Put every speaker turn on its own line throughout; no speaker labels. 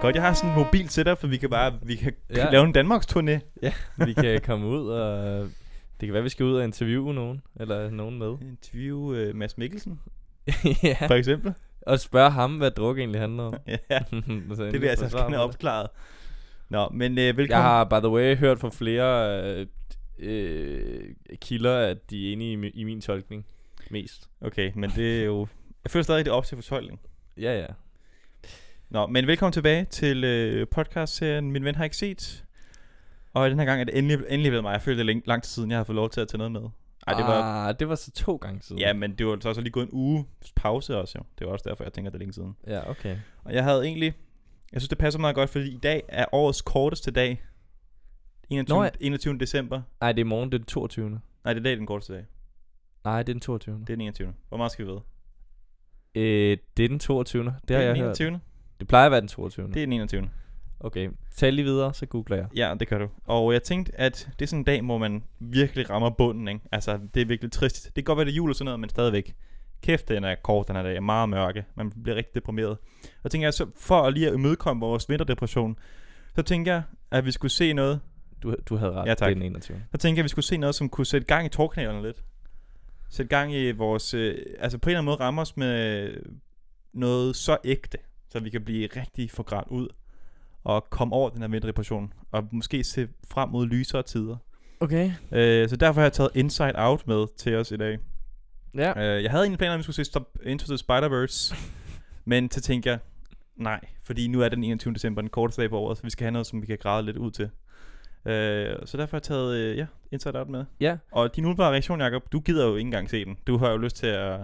Godt, jeg har sådan en mobil setup, for vi kan bare vi kan
Ja.
ja. lave en Danmarks turné.
Vi kan komme ud og... Det kan være, vi skal ud og interviewe nogen, eller nogen med.
Interview øh, Mads Mikkelsen,
ja.
for eksempel.
Og spørge ham, hvad druk egentlig handler om.
ja,
Og så
det
endelig
vil jeg
få
altså
svar på
gerne
det.
opklaret. Nå, men øh, velkommen.
Jeg har, by the way, hørt fra flere øh, øh, kilder, at de er enige i, mi- i min tolkning mest.
Okay, men det er jo... Jeg føler stadig, det er op til fortolkning.
Ja, ja.
Nå, men velkommen tilbage til øh, podcastserien Min Ven Har Ikke Set. Og den her gang er det endelig, endelig blevet mig. Jeg følte, det er længe- lang tid siden, jeg har fået lov til at tage noget med. Ej, det var...
ah, det var så to gange siden.
Ja, men det var så også lige gået en uge pause også jo. Det var også derfor, jeg tænker, det er længe siden.
Ja, okay.
Og jeg havde egentlig... Jeg synes, det passer meget godt, fordi i dag er årets korteste dag. 21,
Nå, ja.
21. december.
Nej, det er i morgen, det er den 22.
Nej, det er i dag den korteste dag.
Nej, det er den 22. Det,
Det er den 21. Hvor meget skal vi vide?
øh, det er den 22. Det, har
er
jeg
den
hørt. Mm.
21.
Det plejer at være den 22.
Det er den 21.
Okay, tal lige videre, så googler jeg.
Ja, det kan du. Og jeg tænkte, at det er sådan en dag, hvor man virkelig rammer bunden, ikke? Altså, det er virkelig trist. Det kan godt være, det er jul og sådan noget, men stadigvæk. Kæft, den er kort, den her dag. er Meget mørke. Man bliver rigtig deprimeret. Og jeg tænker jeg, så for at lige at imødekomme vores vinterdepression, så tænker jeg, at vi skulle se noget.
Du, du havde ret,
Ja, tak.
det er den 21.
Så tænker jeg, at vi skulle se noget, som kunne sætte gang i tårkanalerne lidt. Sætte gang i vores... Øh, altså, på en eller anden måde ramme os med noget så ægte, så vi kan blive rigtig forgrædt ud og komme over den her vinterdepression, og måske se frem mod lysere tider.
Okay,
Øh, så derfor har jeg taget Inside Out med til os i dag.
ja.
Øh, jeg havde egentlig planer om, at vi skulle se Stop Into the Spider-Verse, men så tænkte jeg, nej, fordi nu er den 21. december den korteste dag på året, så vi skal have noget, som vi kan græde lidt ud til. Øh, så derfor har jeg taget øh, ja, Inside Out med.
Ja.
Og din umiddelbare reaktion, Jacob, du gider jo ikke engang se den. Du har jo lyst til at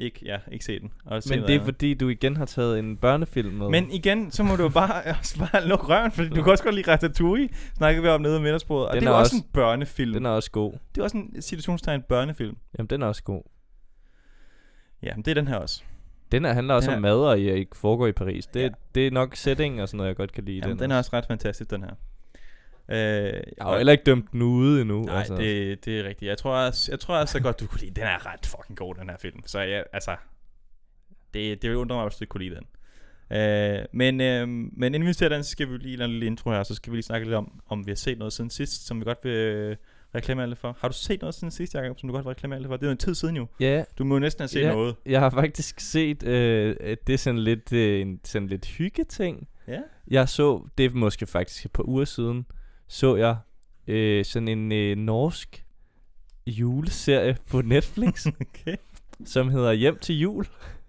ikke, ja, ikke se den. Og se
Men
noget
det er
andet.
fordi, du igen har taget en børnefilm med.
Men igen, så må du jo bare, også bare lukke røven, fordi du kan også godt lide Ratatouille, snakkede vi om nede ved middagsbordet. Og
Den
det er
er
jo også,
også-
en børnefilm.
Den er også god.
Det er også en situationstegn børnefilm.
Jamen, den er også god.
Ja, men det er den her også.
Den her handler også
Den
om
er-
mad og jeg ikke foregår i Paris. Det,
Ja.
det er nok setting og sådan noget, jeg godt kan lide. i
Jamen, den er også ret fantastisk, den her. Øh,
Jeg har jo heller ikke dømt den ude endnu. altså.
Nej, det, det er rigtigt. Jeg tror også, jeg tror også godt, du kunne lide den. Den er ret fucking god, den her film. Så jeg, altså, det, det undrer mig, hvis du ikke kunne lide den. Øh, men, øh, men inden vi ser den, så skal vi lige lave en lille intro her, så skal vi lige snakke lidt om, om vi har set noget siden sidst, som vi godt vil øh, reklamere lidt for. Har du set noget siden sidst, Jacob, som du godt vil reklamere lidt for? Det er jo en tid siden jo.
Ja,
Du må jo næsten have set
Ja.
noget.
jeg har faktisk set, øh, at det er sådan lidt, øh, en sådan lidt hyggeting.
Ja.
Jeg så, det er måske faktisk et par uger siden, så jeg øh, sådan en øh, norsk juleserie på Netflix,
Okay.
som hedder Hjem til Jul.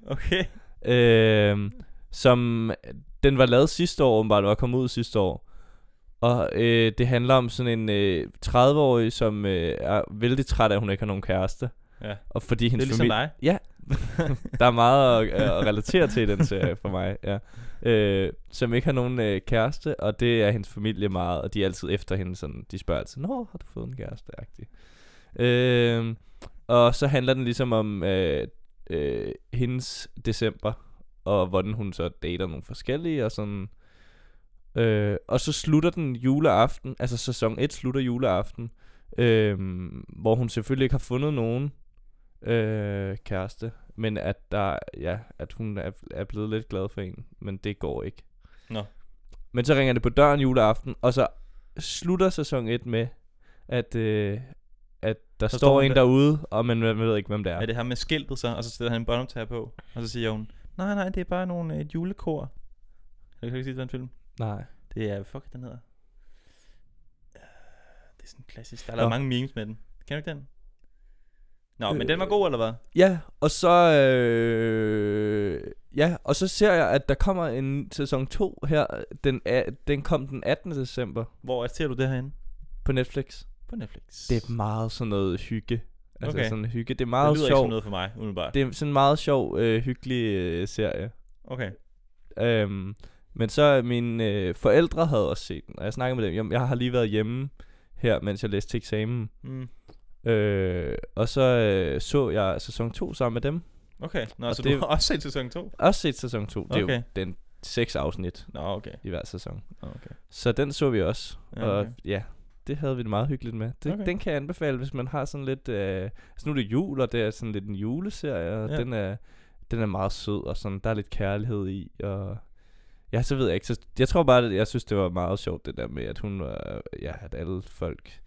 Okay.
øh, som øh, den var lavet sidste år, åbenbart, og kom ud sidste år. Og øh, det handler om sådan en øh, 30-årig, som øh, er vældig træt af, at hun ikke har nogen kæreste.
Ja.
Og fordi
Det er
hendes
ligesom
familie...
dig.
Der er meget at, øh, at relatere til i den serie for mig, ja. Øh, som ikke har nogen øh, kæreste, og det er hendes familie meget, og de er altid efter hende, sådan, de spørger altid, Nå, har du fået en kæreste? -agtig. Øh, og så handler den ligesom om øh, øh, hendes december, og hvordan hun så dater nogle forskellige, og sådan... Øh, og så slutter den juleaften, altså sæson 1 slutter juleaften, øh, hvor hun selvfølgelig ikke har fundet nogen øh, kæreste. Men at der, ja, at hun er, er blevet lidt glad for en, men det går ikke.
Nå.
Men så ringer det på døren juleaften, og så slutter sæson 1 med, at, øh, at der,
står
står, står en
hun der.
derude, og man, man ved ikke, hvem det er.
Ja. Er det her med skiltet så, og så sætter han en båndoptager på, og så siger hun, nej, nej, det er bare nogle, øh, et julekor. Kan du ikke sige den film?
Nej.
Det er, fuck den hedder. Øh, Det er sådan klassisk, der er
Nå.
lavet mange memes med den. Kan du ikke den? Nå, men den var
Øh.
god, eller hvad?
Ja, og så... Øh, ja, og så ser jeg, at der kommer en sæson 2 her. Den, er, den kom den 18. december
Hvor ser du det herinde?
på Netflix.
På Netflix.
Det er meget sådan noget hygge. Altså
Okay.
sådan hygge. Det er
det
meget
lyder ikke som
sjovt.
noget for mig, umiddelbart. Det.
Det er sådan en meget sjov, øh, hyggelig øh, serie.
Okay.
Øhm, men så øh, mine øh, forældre havde også set den, og jeg snakkede med dem. Jeg, jeg har lige været hjemme her, mens jeg læste til eksamen.
Mm.
Øh, og så øh, så jeg sæson 2 sammen med dem.
Okay, Nå,
Og
så
det-
du har også set sæson 2?
Også set sæson 2. Det er
Okay.
jo den seks afsnit
Nå, okay.
i hver sæson.
okay.
Så den så vi også.
Ja,
Ja, og
okay.
ja, det havde vi det meget hyggeligt med. Det,
Okay.
okay. Den kan jeg anbefale, hvis man har sådan lidt... Øh, altså nu er det jul, og det er sådan lidt en juleserie, og
Ja.
ja. den, er, den er meget sød, og sådan, der er lidt kærlighed i, og... Ja, så ved jeg ikke. Så, jeg tror bare, at jeg synes, det var meget sjovt, det der med, at hun var, ja, at alle folk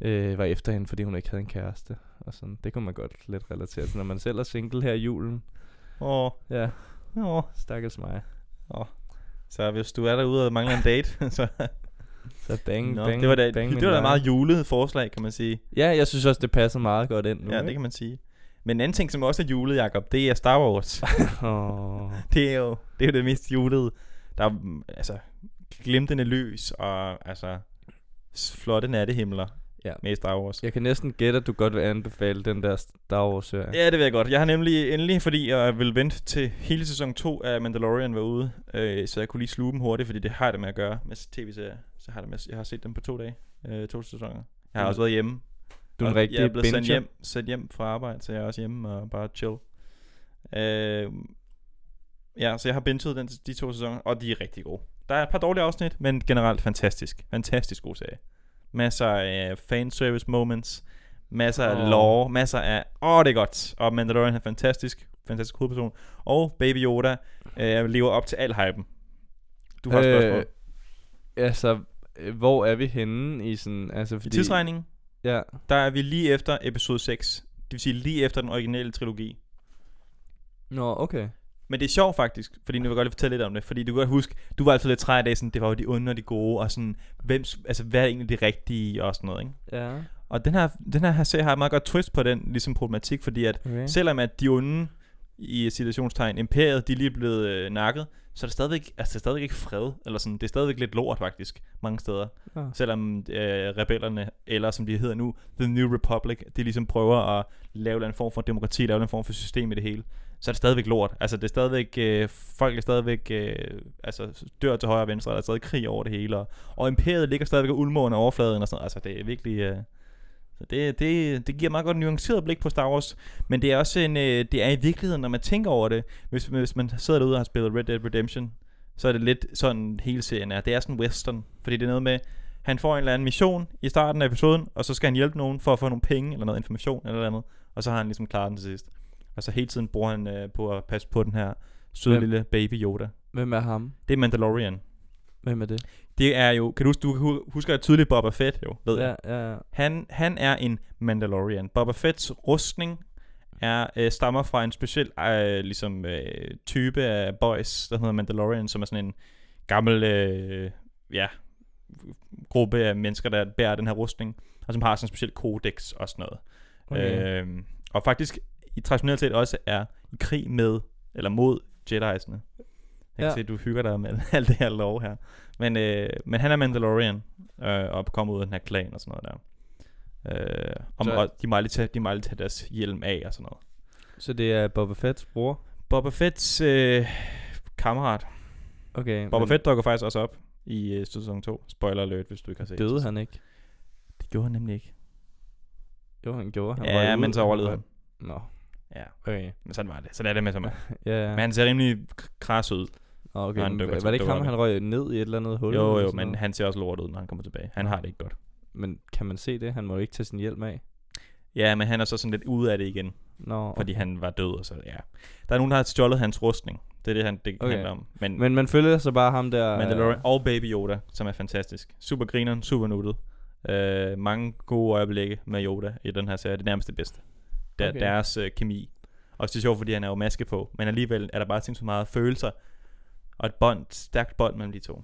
øh, var efter hende, fordi hun ikke havde en kæreste. Og sådan. Det kunne man godt lidt relatere til, når man selv er single her i julen.
Åh,
Ja,
åh.
stakkels mig.
Så hvis du er derude og mangler en date, så...
Så bang,
Nå,
bang,
det var da,
bang,
det
min
var da
vej.
et meget julet forslag, kan man sige.
Ja, jeg synes også, det passer meget godt ind nu.
Ja, det kan man sige. Men en anden ting, som også er julet, Jacob, det er Star Wars.
man. Oh.
det er jo det, er jo det mest julede. Der er mm, altså glimtende lys og altså s- flotte nattehimler
Ja.
med Star Wars.
Jeg kan næsten gætte, at du godt vil anbefale den der Star Wars-serie.
Ja, det ved jeg godt. Jeg har nemlig endelig, fordi jeg vil vente til hele sæson 2 af Mandalorian var ude, øh, så jeg kunne lige sluge dem hurtigt, fordi det har jeg det med at gøre med tv-serier. Så har jeg, det med, jeg har set dem på to dage, øh, to sæsoner. Jeg har
Mm.
også været hjemme.
Du er en
Og Jeg er
rigtig
blevet sendt
binger.
hjem, sendt hjem fra arbejde, så jeg er også hjemme og bare chill. Øh, ja, så jeg har binget den, de to sæsoner, og de er rigtig gode. Der er et par dårlige afsnit, men generelt fantastisk. Fantastisk god serie. Masser af øh, fanservice moments, masser af
Åh.
oh. lore, masser af... Åh, oh, det er godt. Og Mandalorian er fantastisk, fantastisk hovedperson. Og Baby Yoda øh, lever op til al hypen. Du har øh, spørgsmål.
Altså, øh, hvor er vi henne i sådan... Altså,
I
fordi,
tidsregningen,
Ja,
der er vi lige efter episode 6. Det vil sige lige efter den originale trilogi.
nå, okay.
Men det er sjovt faktisk, fordi nu vil jeg godt lige fortælle lidt om det, fordi du kan godt huske, du var altid lidt træt af, sådan, det var jo de onde og de gode, og sådan, hvem, s- altså, hvad er egentlig det rigtige, og sådan noget, ikke?
Ja,
Og den her, den her, her serie har et meget godt twist på den ligesom problematik, fordi at
okay.
selvom at de onde, i situationstegn, imperiet, de er lige blevet øh, nakket, så er der stadigvæk, altså, der er stadigvæk ikke fred, eller sådan, det er stadigvæk lidt lort faktisk, mange steder.
Nå.
Selvom øh, rebellerne, eller som de hedder nu, The New Republic, de ligesom prøver at lave en eller anden form for demokrati, lave en eller anden form for system i det hele, så er det stadigvæk lort. Altså det er stadigvæk, øh, folk er stadigvæk, øh, altså dør til højre og venstre, og der er stadig krig over det hele, og, og imperiet ligger stadigvæk og ulmer under overfladen og sådan noget. Altså det er virkelig... Øh, så det, det, det giver meget godt en nuanceret blik på Star Wars, men det er også en, øh, det er i virkeligheden, når man tænker over det, hvis, hvis man sidder derude og har spillet Red Dead Redemption, så er det lidt sådan hele serien er. Det er sådan western, fordi det er noget med, han får en eller anden mission i starten af episoden, og så skal han hjælpe nogen for at få nogle penge eller noget information eller noget andet, og så har han ligesom klaret den til sidst. Og så hele tiden bruger han øh, på at passe på den her søde
Hvem?
lille baby Yoda.
Hvem er ham?
Det er Mandalorian.
Hvem er det?
Det er jo, kan du, huske- du kan hu- husker tydeligt Boba Fett jo, ved jeg.
Ja, ja, ja.
Han, han er en Mandalorian. Boba Fetts rustning er, øh, stammer fra en speciel øh, ligesom, øh, type af boys, der hedder Mandalorian, som er sådan en gammel øh, ja, gruppe af mennesker, der bærer den her rustning, og som har sådan en speciel kodex og sådan noget.
Okay.
Okay. Øh, og faktisk i traditionelt set også er i krig med, eller mod Jedi'erne. Jeg kan
Ja.
ja. se, at du hygger dig med alt det her lov her. Men, øh, men han er Mandalorian, øh, og kommer ud af den her klan og sådan noget der. Øh, om,
Så-
og de må aldrig tage, de må aldrig tage deres hjelm af og sådan noget.
Så det er Boba Fetts bror?
Boba Fetts øh, kammerat.
Okay.
Boba
men
Fett dukker faktisk også op i øh, sæson 2. Spoiler alert, hvis du ikke har set
Døde
det.
han ikke?
Det gjorde han nemlig ikke.
Jo, han gjorde. Han
ja,
røg
men
ud.
så overlevede
røg-
han.
Nå,
Ja,
okay.
men sådan var det. Sådan er det med så meget.
Ja, ja.
Men han ser rimelig k- kras ud.
Nå, okay.
han
men
dukker-
var det ikke
dukker
ham,
op.
han røg ned i et eller andet hul?
Jo,
eller
jo,
sådan
men
noget?
han ser også lort ud, når han kommer tilbage. Han har det ikke godt.
Men kan man se det? Han må jo ikke tage sin hjelm af.
Ja, men han er så sådan lidt ude af det igen,
Nå,
fordi
okay.
han var død, og så ja. Der er nogen, der har stjålet hans rustning. Det er det, han, det
Okay.
okay. handler om. Men, men
Men øh, man følger så bare ham der...
Mandalorian og Baby Yoda, som er fantastisk. Super grineren, super nuttet. Øh, mange gode øjeblikke med Yoda i den her serie. Det er nærmest det bedste. Der,
Okay.
okay. Deres øh, kemi. Og det er sjovt, fordi han er jo maske på, men alligevel er der bare ting så meget følelser og et bånd, stærkt bånd mellem de to.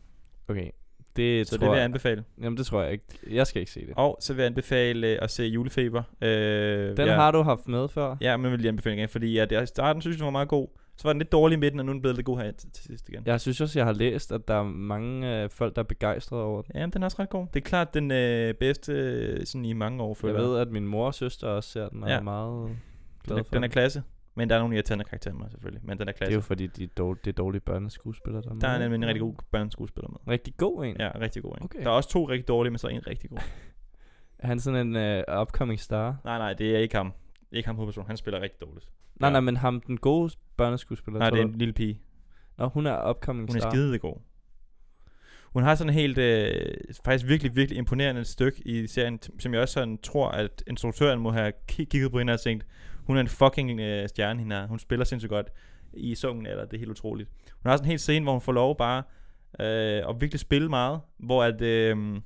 Okay. Det
Så
tror
det vil jeg
jeg...
anbefale.
Jamen, det tror jeg ikke. Jeg skal ikke se det.
Og så vil jeg anbefale øh, at se Julefeber. Øh,
Den
ja.
har du haft med før.
Ja, men jeg vil lige anbefale den igen, fordi at jeg i starten synes, den var meget god. Så var den lidt dårlig i midten, og nu er den blevet lidt god her til, til sidst igen. Ja.
Jeg synes også, jeg har læst, at der er mange øh, folk, der er begejstrede over den.
Jamen, den er også ret god. Det er klart den øh, bedste øh, sådan i mange år,
Jeg
føler
ved, at min mor og søster også ser den, og ja.
Ja.
er meget
Den, er,
glad for
den er klasse, men der er nogle irriterende karakterer med, selvfølgelig. Men den er
Det er
klasse.
jo fordi, de er dårlige, det er dårlige børneskuespillere, der er
Der er
med.
nemlig en rigtig god børneskuespiller med.
Rigtig god en. Ja.
Ja, rigtig god. Ikke?
Okay.
Der er også to rigtig dårlige, men så en rigtig god.
Er han sådan en øh, upcoming star? Nej,
nej, nej, det er ikke ham. Ikke ham hovedpersonen. Han spiller rigtig dårligt.
ja.
Ja.
nej, men ham, den gode børneskuespiller.
Nej,
tror
det er
du?
en lille pige.
Nå, hun er upcoming
Hun er
star.
skidegod. Hun har sådan en helt, øh, faktisk virkelig, virkelig imponerende stykke i serien, t- som jeg også sådan tror, at instruktøren må have ki- kigget på hende og tænkt, Hun er en fucking øh, stjerne, hende her. Hun spiller sindssygt godt i sungen, eller det er helt utroligt. Hun har sådan en hel scene, hvor hun får lov bare øh, at virkelig spille meget, hvor at, øh,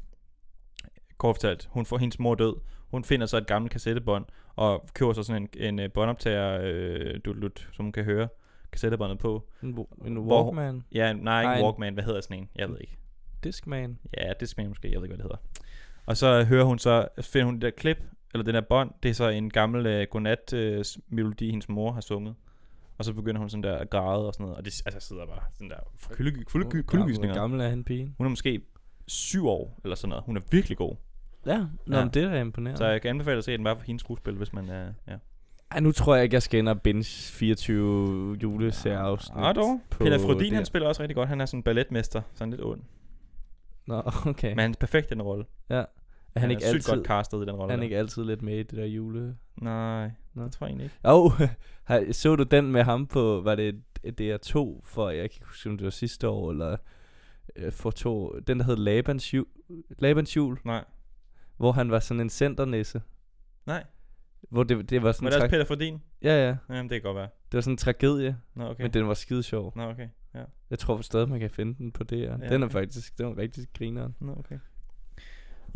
kort fortalt, hun får hendes mor død. Hun finder så et gammelt kassettebånd, og køber så sådan en, en øh, båndoptager, øh, dulut, som hun kan høre kassettebåndet på.
En, wa- en
Hvor-
Walkman.
Ja, nej, ikke
Nej,
en
en-
Walkman, hvad hedder sådan en? Jeg ved ikke.
Discman.
Ja, det smager måske, jeg ved ikke, hvad det hedder. Og så hører hun så, finder hun det der klip, eller den der bånd, det er så en gammel øh, godnat-melodi, øh, s- melodi, hendes mor har sunget. Og så begynder hun sådan der at græde og sådan noget, og det altså, sidder bare sådan der kulde- kulde- kulde-
Hvor
kuldegysninger.
gammel er han pigen?
Hun er måske syv år, eller sådan noget. Hun er virkelig god.
Ja, nå,
Ja.
men det er da imponerende.
Så jeg kan anbefale at se den bare for hendes skuespil, hvis man er... Ja.
Ej, nu tror jeg ikke, jeg skal ind og binge 24 julesærafsnit.
Ah, dog.
på
Peter Frodin, han
det.
spiller også rigtig godt. Han er sådan en balletmester, sådan lidt ond.
Nå, okay.
Men han er perfekt i den rolle.
er han,
Han
ikke
er sygt
altid,
godt castet i den
er
rolle.
han
der.
ikke altid lidt med i det der jule...
Nej,
Nå.
det tror jeg egentlig ikke.
Åh, oh, har- så du den med ham på, var det DR2 for, jeg kan ikke huske, om det var sidste år, eller øh, for to, den der hed Labans jul, Labans jul,
Nej.
hvor han var sådan en centernisse.
Nej.
Hvor det, det var sådan
Men
en
der er også
tra-
Peter Frodin.
ja, ja,
Jamen, det kan godt være.
det var sådan en tragedie,
Nå, okay.
okay. men den var skide sjov.
Nå, okay. Ja.
Jeg tror stadig, man kan finde den på DR. Ja, den er
okay.
faktisk, den var rigtig grineren.
Nå, okay.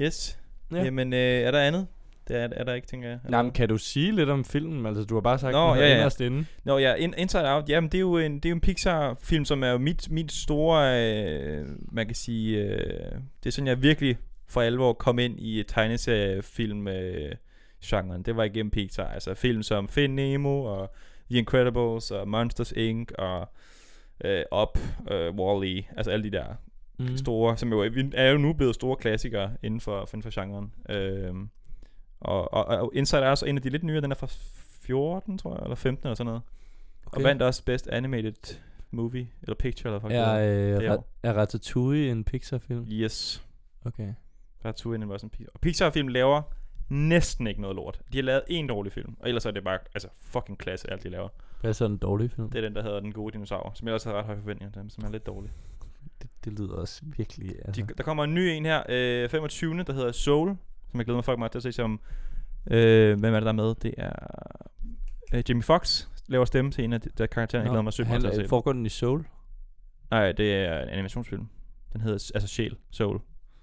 Yes.
Ja.
Ja. Jamen, øh, er der andet? Det er, er der ikke, tænker jeg. Eller
Nej, men kan du sige lidt om filmen? Altså, du har bare sagt,
Nå,
den hedder
ja, ja.
Inderst Inde.
Nå ja, In- Inside Out, jamen det er jo en, det er jo en Pixar-film, som er jo mit, mit store, øh, man kan sige, øh, det er sådan, jeg virkelig for alvor kom ind i tegneseriefilm øh, genren. Det var igennem Pixar, altså film som Find Nemo og The Incredibles og Monsters Inc. og øh, Up, øh, Wall-E, altså alle de der
Mm.
store, som jo er- er jo nu blevet store klassikere inden for, inden for genren. Øhm, og, og, og Inside er også en af de lidt nyere, den er fra 14, tror jeg, eller 15 eller sådan noget. Okay. Og vandt også Best Animated Movie, eller Picture, eller fuck
Er,
ja,
øh,
Det er
Ra- er Ratatouille en Pixar-film?
Yes.
Okay.
Ratatouille var sådan en Pixar. Og Pixar-film laver næsten ikke noget lort. De har lavet en dårlig film, og ellers er det bare altså, fucking klasse, alt de laver.
Hvad er så en dårlig film?
Det er den, der hedder Den Gode Dinosaur, som jeg også havde ret høje forventninger til, men som er lidt dårlig.
Det, det lyder også virkelig... Altså.
De, der kommer en ny en her, øh, 25. der hedder Soul, som jeg glæder mig fucking meget til at se, som, øh, hvem er det der er med? Det er øh, Jimmy Fox laver stemme til en af de, der karaktererne, jeg glæder mig sygt meget til at se.
øh, Foregår den i Soul?
Nej, det er en animationsfilm. Den hedder s- altså Sjæl, Soul.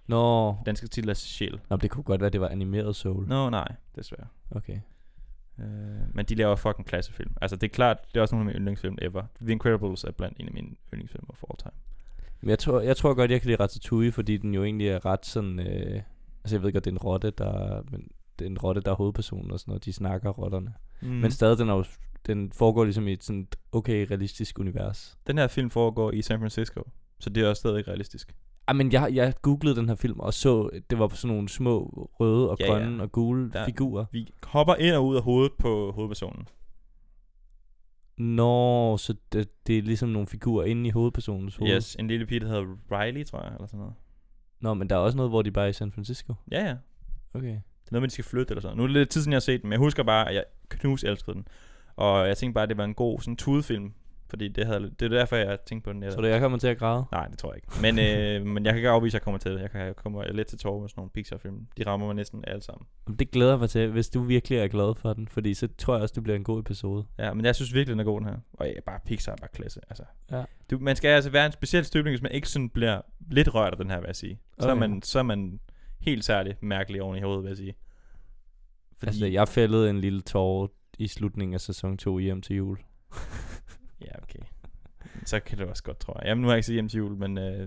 Nå.
Den danske titel er Sjæl.
Nå, men det kunne godt være, det var animeret
Nå
Soul.
no, nej, desværre.
Mm. Okay.
Øh, men de laver fucking klassefilm. Altså det er klart, det er også nogle af mine yndlingsfilm ever. The Incredibles er blandt en af mine yndlingsfilm of all time.
Men jeg tror, jeg tror godt, jeg kan lide Ratatouille, fordi den jo egentlig er ret sådan... Øh, altså, jeg ved godt, det er en rotte, der... Men det er en rotte, der er hovedpersonen og sådan noget. De snakker rotterne. Mm. Men stadig, den, er jo, den foregår ligesom i et sådan et okay realistisk univers.
den her film foregår i San Francisco, så det er også stadig realistisk.
Ej, men jeg, jeg googlede den her film og så, det var på sådan nogle små røde og
Ja,
ja,
ja.
grønne ja. og gule
Der-
der. figurer.
Vi hopper ind og ud af hovedet på hovedpersonen.
Nå, så det, det er ligesom nogle figurer inde i hovedpersonens hoved.
Yes, en lille pige, der hedder Riley, tror jeg, eller sådan noget.
Nå, men der er også noget, hvor de bare er i San Francisco.
Ja, ja.
Okay.
Det er noget med, de skal flytte eller sådan noget. Nu er det lidt tid siden, jeg har set den, men jeg husker bare, at jeg knus elskede den. Og jeg tænkte bare, at det var en god sådan tudefilm. Fordi det, havde, det er derfor, jeg tænkte på den. Jeg,
Tror du, jeg kommer til at græde?
Nej, det tror jeg ikke. Men, øh, men jeg kan ikke afvise, at jeg kommer til det. Jeg, kan, jeg kommer lidt til tårer med sådan nogle Pixar-film. De rammer mig næsten alle sammen.
Jamen, Det glæder jeg mig til, hvis du virkelig er glad for den. Fordi så tror jeg også, det bliver en god episode.
Ja, men jeg synes virkelig, den er god, den her. Og ja, bare Pixar er bare klasse. Altså.
Ja.
Du, man skal altså være en speciel støbning, hvis man ikke sådan bliver lidt rørt af den her, vil jeg sige. Så, er,
Okay.
man, så er man helt særlig mærkelig oven i hovedet, vil jeg sige.
Fordi... Altså, jeg fældede en lille tårer i slutningen af sæson 2 hjem til jul.
Ja, okay. Så kan det også godt, tror jeg. Jamen, nu har jeg ikke set hjem til jul, men øh,
Altså,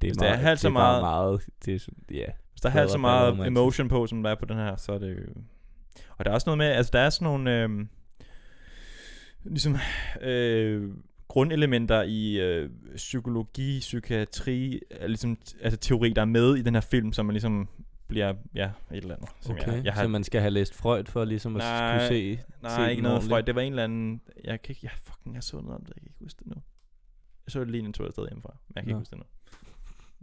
Det
Hvis der er halvt så
det bare
meget-
meget det er, sådan- ja.
hvis der er
Det er
halvt så
ret
meget
romantisk.
emotion på, som der er på den her, så er det jo... Og der er også noget med, altså der er sådan nogle øh, ligesom, øh, grundelementer i øh, psykologi, psykiatri, øh, ligesom, altså teori, der er med i den her film, som man ligesom bliver, ja, et eller andet. Som
Okay.
jeg, jeg
har...
har,
Så man skal have læst Freud for ligesom at
Nej.
nej, kunne se
nej, ikke
den
noget
ordentligt.
Freud. Det var en eller anden... Jeg kan ikke... Jeg, fucking, jeg så noget om det. Jeg kan ikke huske det nu. Jeg så det lige, inden jeg tog afsted hjemmefra. Men jeg kan ikke
Nå.
huske det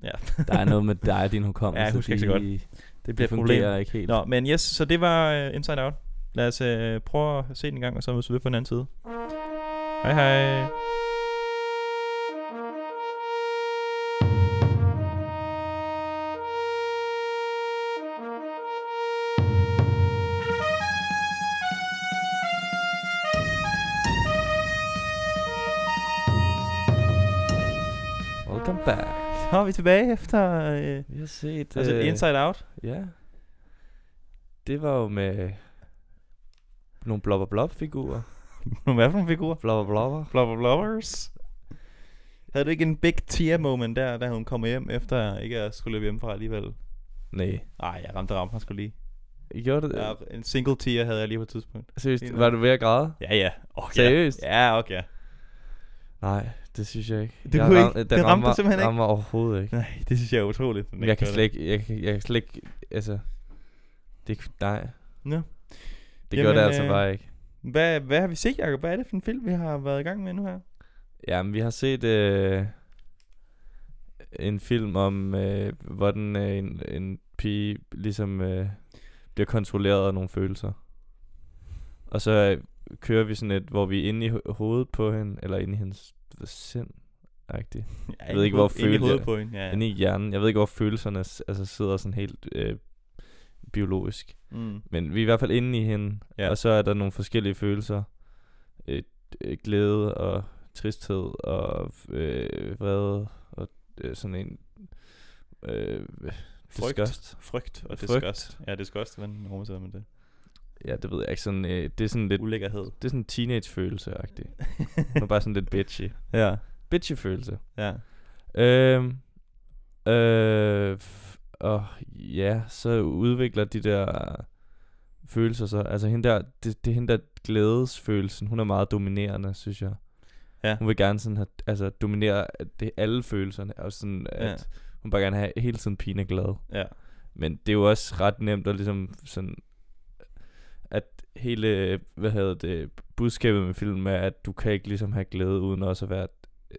nu. Ja.
Der er noget med dig og din hukommelse.
Ja, jeg husker ikke så
de-
godt. Det bliver
Det
et problem.
fungerer ikke helt.
Nå, men yes, så det var uh, Inside Out. Lad os uh, prøve at se den en gang, og så mødes vi ved på den anden side. Hej hej.
Welcome back.
Så er vi tilbage efter øh,
Vi har set...
altså
øh,
Inside Out.
Ja. Det var jo med nogle blobber blob figurer.
Nogle hvad for nogle figurer?
Blobber blobber.
Blubber Blubbers. Havde du ikke en big tear moment der, da hun kom hjem, efter ikke at skulle løbe hjemmefra alligevel?
Nej.
Nej, jeg ramte ramte mig skulle lige.
I gjorde det?
Ja, en single tear havde jeg lige på et tidspunkt.
Seriøst,
en-
var du ved at græde?
Ja, ja. Okay.
Seriøst?
Ja, okay.
Nej, det synes jeg ikke.
Det kunne ikke-
ram-
det ramte
rammer,
dig simpelthen ikke?
rammer overhovedet ikke.
Nej, det synes jeg er utroligt. den ikke
Men jeg kan
gør
slet ikke, jeg, kan- jeg kan slet ikke, altså, det, kan- nej.
Nå.
Det gør det
Jamen,
altså
øh,
bare ikke.
det. Hvad, hvad har vi set, Jacob? Hvad er det for en film, vi har været i gang med nu her?
Jamen, vi har set øh, en film om, øh, hvordan øh, en, en pige ligesom øh, bliver kontrolleret af nogle følelser. Og så øh, kører vi sådan et, hvor vi er inde i ho- hovedet på hende, eller inde i hendes sind, agtigt.
Jeg
ved ikke, hvor følte jeg
hovedet
det.
på hende. Ja.
Ja. Inde i hjernen. Jeg ved ikke, hvor følelserne s- altså, sidder sådan helt øh, biologisk.
Mm.
Men vi er i hvert fald inde i hende,
Ja.
ja. og så er der nogle forskellige følelser. Øh, øh, glæde og tristhed og øh, vrede og øh, sådan en øh,
Frygt.
disgust.
Frygt og
Frygt.
disgust. Ja, disgust, hvordan oversætter man det?
Ja, det ved jeg ikke. Sådan, øh, det er sådan lidt
Ulækkerhed.
det er sådan en teenage-følelse-agtig. Hun er bare sådan lidt bitchy.
Ja,
Bitchy-følelse.
ja.
Øhm, øh, f- og ja, så udvikler de der følelser sig. Altså hende der, det, det er hende der glædesfølelsen, hun er meget dominerende, synes jeg.
Ja.
Hun vil gerne sådan have, altså dominere at det, alle følelserne, og sådan at
Ja.
ja. hun bare gerne have hele tiden pigen er glad.
Ja,
Men det er jo også ret nemt at ligesom sådan, at hele, hvad hedder det, budskabet med filmen er, at du kan ikke ligesom have glæde uden også at være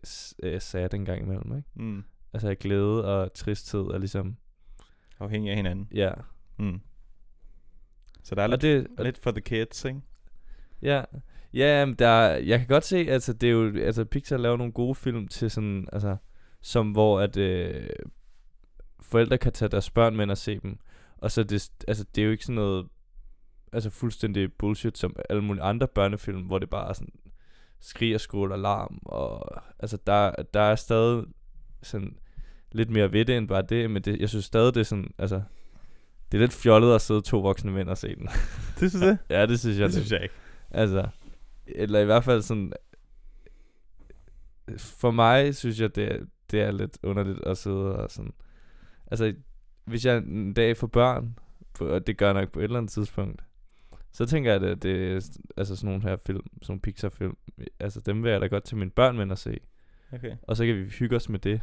s- øh, sad en gang imellem, ikke?
mm.
Altså glæde og tristhed er ligesom
afhængig af hinanden.
Ja
Mm. Så der er
Og
lidt,
det og,
lidt for the kids, ikke?
Ja Ja men der Jeg kan godt se Altså det er jo Altså Pixar laver nogle gode film Til sådan Altså Som hvor at øh, Forældre kan tage deres børn med ind og se dem Og så er det Altså det er jo ikke sådan noget Altså fuldstændig bullshit Som alle mulige andre børnefilm Hvor det bare er sådan Skrig og skrål og larm Og Altså der Der er stadig Sådan Lidt mere ved det end bare det Men det, jeg synes stadig det er sådan Altså det er lidt fjollet at sidde to voksne mænd og se den.
Det synes jeg.
ja, det synes jeg.
Det
lidt.
synes jeg ikke.
Altså, eller i hvert fald sådan, for mig synes jeg, det er, det er lidt underligt at sidde og sådan, altså, hvis jeg en dag får børn, på- og det gør jeg nok på et eller andet tidspunkt, så tænker jeg, at det er s- altså sådan nogle her film, sådan nogle Pixar-film, altså dem vil jeg da godt til mine børn med at se,
Okay.
og så kan vi hygge os med det.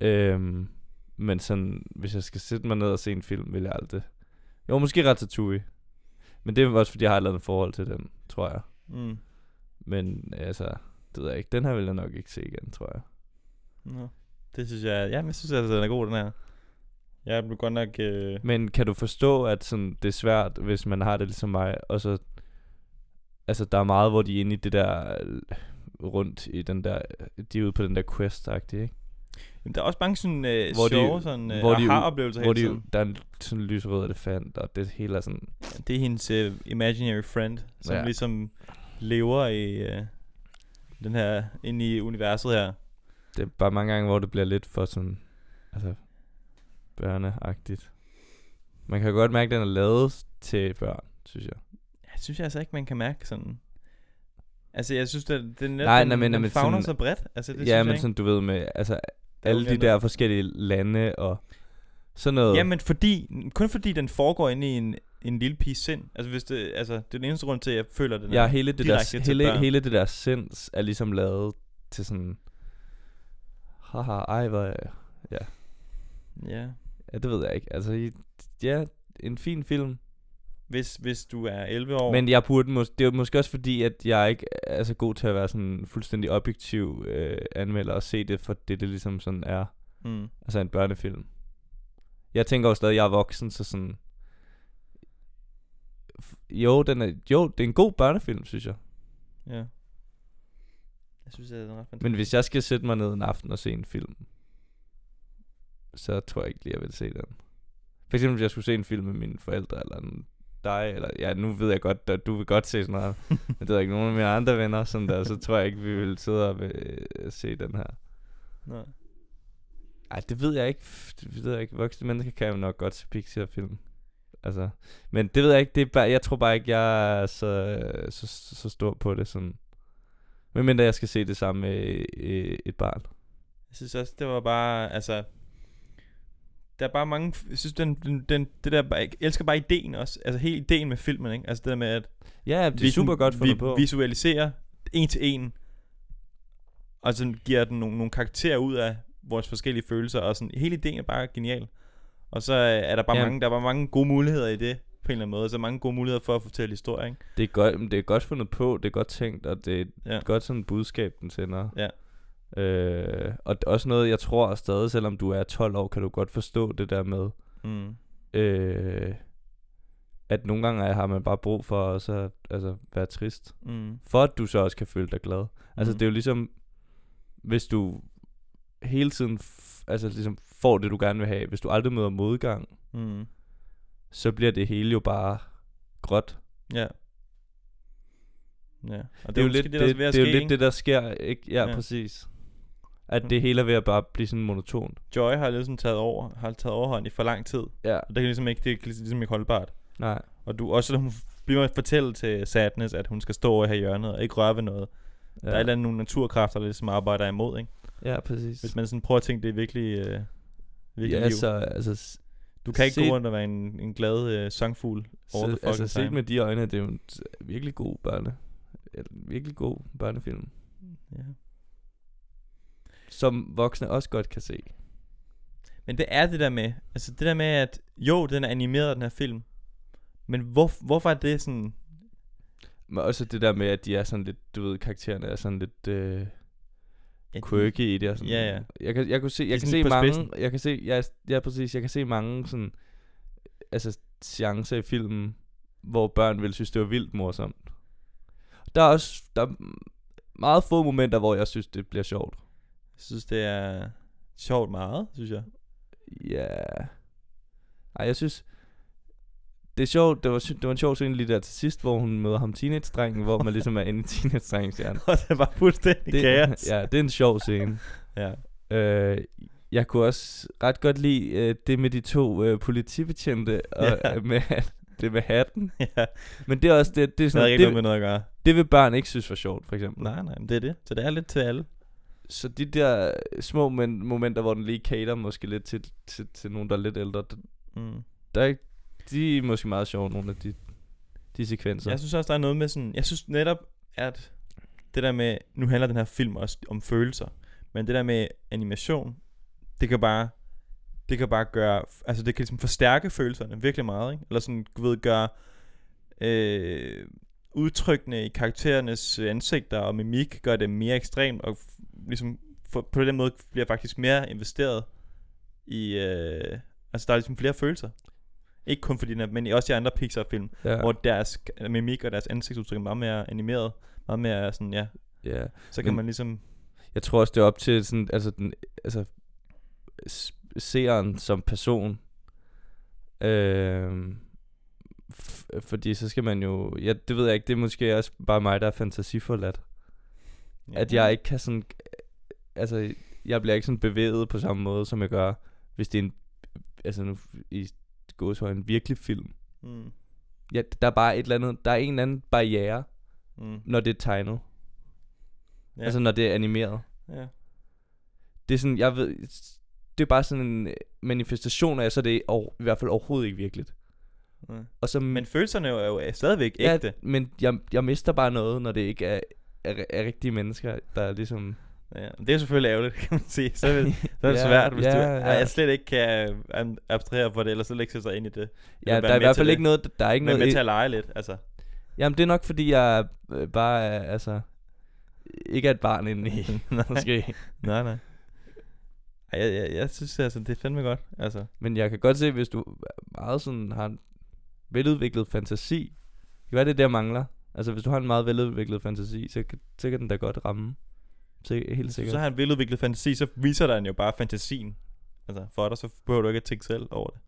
Øhm, men sådan, hvis jeg skal sætte mig ned og se en film, vil jeg aldrig. Jo, måske Ratatouille. Men det er også, fordi jeg har et eller andet forhold til den, tror jeg.
Mm.
Men altså, det ved jeg ikke. Den her vil jeg nok ikke se igen, tror jeg.
Nå. Det synes jeg, ja, men jeg synes altså, den er god, den her. Jeg blev godt nok, øh,
Men kan du forstå, at sådan, det er svært, hvis man har det ligesom mig, og så... Altså, der er meget, hvor de er inde i det der øh, rundt i den der, de er ude på den der quest ikke?
jamen, der er også mange sådan øh,
Hvor
hvor
de-
sjove sådan, øh,
hvor de-
aha-oplevelser
Hvor
hele
de,
tiden.
der er en sådan en lyserød elefant, og det hele er sådan,
Det er hendes øh, imaginary friend, som ja.
Ja.
ligesom lever i øh, den her, inde i universet her.
Det er bare mange gange, hvor det bliver lidt for sådan, altså, børneagtigt. Man kan godt mærke, at den er lavet til børn, synes jeg.
Jeg synes altså ikke, man kan mærke sådan. Altså, jeg synes, det, det er net,
Nej,
den,
nej, men-
den
men
fagner
sådan-
så bredt. Altså, det
ja,
synes
men
jeg ikke.
sådan, du ved med, altså,
er
alle de
uventet.
der forskellige lande og sådan noget.
Jamen, fordi, kun fordi den foregår inde i en, en lille piges sind. Altså, hvis det, altså, det er den eneste grund til, at jeg føler den
ja, hele det,
direkte
der,
til
hele,
børn.
hele det der sens er ligesom lavet til sådan, haha, ej, hvor, er-
ja.
ja, det ved jeg ikke. Altså, i- ja, en fin film.
Hvis, hvis du er 11 år.
Men jeg burde mås- det er jo måske også fordi, at jeg ikke er så god til at være sådan fuldstændig objektiv øh, anmelder og se det for det, det ligesom sådan er.
Mm.
Altså en børnefilm. Jeg tænker jo stadig, at jeg er voksen, så sådan... F- Jo, den er, jo, det er en god børnefilm, synes jeg.
Ja. Jeg synes, at den er ret fantastisk.
Men hvis jeg skal sætte mig ned en aften og se en film, så tror jeg ikke lige, jeg vil se den. For eksempel, hvis jeg skulle se en film med mine forældre, eller en dig, eller ja, nu ved jeg godt, at du vil godt se sådan noget, men det er der ikke nogen af mine andre venner, sådan der, så tror jeg ikke, vi vil sidde og øh, se den her.
Nej.
Ej, det ved jeg ikke. F- Det ved jeg ikke. Voksne mennesker kan jo nok godt se Pixar-film. Altså, men det ved jeg ikke. Det er bare, jeg tror bare ikke, jeg er så, øh, så, så stor på det. Sådan. Men mindre jeg skal se det sammen med øh, et barn.
Jeg synes også, det var bare, altså... Der er bare mange... Jeg synes, den, den, den, det der... bare- Jeg elsker bare ideen også. Altså, hele ideen med filmen, ikke? Altså, det der med, at
Ja, det er
vi
super
sådan-
godt fundet
vi
på.
visualiserer en til en, og sådan giver den nogle, nogle karakterer ud af vores forskellige følelser, og sådan, hele ideen er bare genial. Og så øh, er der bare,
Ja.
mange, der er bare mange gode muligheder i det, på en eller anden måde, og så mange gode muligheder for at fortælle historier, ikke?
Det er, godt, men det er godt fundet på, det er godt tænkt, og det er
Ja.
ja. godt sådan et budskab, den sender.
Ja.
Øh, og det er også noget, jeg tror stadig, selvom du er 12 år, kan du godt forstå det der med,
Mm.
øh, at nogle gange har man bare brug for også at altså, være trist,
Mm.
for at du så også kan føle dig glad. Altså
Mm.
det er jo ligesom, hvis du hele tiden f- altså, ligesom får det, du gerne vil have, hvis du aldrig møder modgang,
Mm.
så bliver det hele jo bare gråt.
Ja. Ja. Og
det er jo lidt det, det,
ved at
det, er jo
ske,
lidt
ikke?
det der sker, ikke? Ja,
Ja.
ja, præcis. At
Mm.
det hele er ved at bare blive sådan monotont.
Joy har ligesom taget over, har taget overhånd i for lang tid. Og
Ja.
det kan ligesom ikke, det er ligesom ikke holdbart.
Nej.
Og du også, når hun bliver ved at fortælle til Sadness, at hun skal stå over her i hjørnet og ikke røre ved noget. Ja.
Ja,
Der er et eller andet nogle naturkræfter, der ligesom arbejder imod, ikke?
ja præcis.
Hvis man sådan prøver at tænke, det er virkelig, øh, virkelig
ja,
liv.
altså, altså, s-
du kan ikke
set-
gå rundt og være en, en glad øh, sangfugl over the
så,
fucking
altså set
time.
med de øjne, det er jo en t- virkelig god børne. en Virkelig god børnefilm.
Ja.
Som voksne også godt kan se.
Men det er det der med, altså det der med, at jo, den er animeret, den her film, men hvor, hvorfor er det sådan,
Men også det der med, at de er sådan lidt, du ved, karaktererne er sådan lidt øh,
ja, de-
quirky i det. Og sådan.
Ja, ja.
Jeg kan, jeg kunne se, jeg kan
sådan
se
lidt på
mange,
spidsen.
jeg kan se, ja, ja, præcis, jeg kan se mange sådan, altså chancer i filmen, hvor børn ville synes, det var vildt morsomt. Der er også, der er meget få momenter, hvor jeg synes, det bliver sjovt.
Jeg synes, det er sjovt meget, synes jeg.
Ja. Ej, jeg synes... Det er sjovt, det var, sy- det var en sjov scene lige der til sidst, hvor hun møder ham teenage-drengen, hvor man ligesom er inde i teenage-drengens hjerne.
Og det var fuldstændig det, kaos.
ja, det er en sjov scene.
ja.
Øh, jeg kunne også ret godt lide øh, det med de to øh, politibetjente, og
Ja.
ja. med, det med hatten.
ja.
Men det er også det, det, er
Det havde
sådan,
ikke noget
det,
med noget at gøre.
det vil børn ikke synes var sjovt, for eksempel.
Nej, nej, men det er det. Så det er lidt til alle.
Så de der øh, små men, momenter, hvor den lige cater måske lidt til, til, til nogen, der er lidt ældre,
Mm.
der er ikke, de er måske meget sjove, nogle af de, de sekvenser.
Jeg synes også, der er noget med sådan... Jeg synes netop, at det der med... Nu handler den her film også om følelser. Men det der med animation, det kan bare... Det kan bare gøre... Altså, det kan ligesom forstærke følelserne virkelig meget, ikke? Eller sådan, du ved, gøre... Øh, udtrykkene i karakterernes øh, ansigter og mimik gør det mere ekstremt, og f- ligesom for, på den måde bliver jeg faktisk mere investeret i... Øh, altså, der er ligesom flere følelser. Ikke kun fordi den er, men også i andre Pixar-film
ja.
hvor deres k- mimik og deres ansigtsudtryk er meget mere animeret, meget mere sådan, ja,
ja.
så kan
Men-
man ligesom,
Jeg tror også, det er op til sådan, altså, den, altså, s- seeren som person. Øh, f- fordi så skal man jo... Ja, det ved jeg ikke, det er måske også bare mig, der er fantasiforladt.
ja,
Ja. At jeg ikke kan sådan... Altså, jeg bliver ikke sådan bevæget på samme måde, som jeg gør, hvis det er en... Altså nu i gåshøjde, en virkelig film.
Mm,
Ja, der er bare et eller andet... Der er en eller anden barriere,
mm,
når det er tegnet.
ja,
Ja. Altså når det er animeret.
ja,
Det er sådan, jeg ved, det er bare sådan en øh, manifestation af, så det er over, i hvert fald overhovedet ikke virkeligt.
ja.
Og så,
Men følelserne er jo er stadigvæk
ja,
ægte.
men jeg, jeg mister bare noget, når det ikke er, er, er rigtige mennesker, der er ligesom...
Ja. Det er selvfølgelig ærgerligt, kan man sige. Så er det, så er det
Ja,
svært, hvis
ja,
du
ja.
jeg slet ikke kan øh, am- abstrahere for det, eller slet ikke sætte sig ind i det.
Ja,
være
der er i
med
hvert
til
fald
det.
ikke noget, der er ikke
Men
noget...
med
i-
til at lege lidt, altså.
Jamen det er nok, fordi jeg øh, bare er, altså, ikke er et barn inde i,
nej,
måske.
nej, nej. Ej, jeg, jeg, jeg synes altså, det er fandme godt, altså.
Men jeg kan godt se, hvis du er meget sådan har en veludviklet fantasi, det kan være det er det, jeg mangler. Altså hvis du har en meget veludviklet fantasi, så, kan- så kan den da godt ramme. Sik- helt sikkert.
Altså, Så har han veludviklet fantasi, så viser den jo bare fantasien. Altså, for dig, så behøver du ikke at tænke selv over det.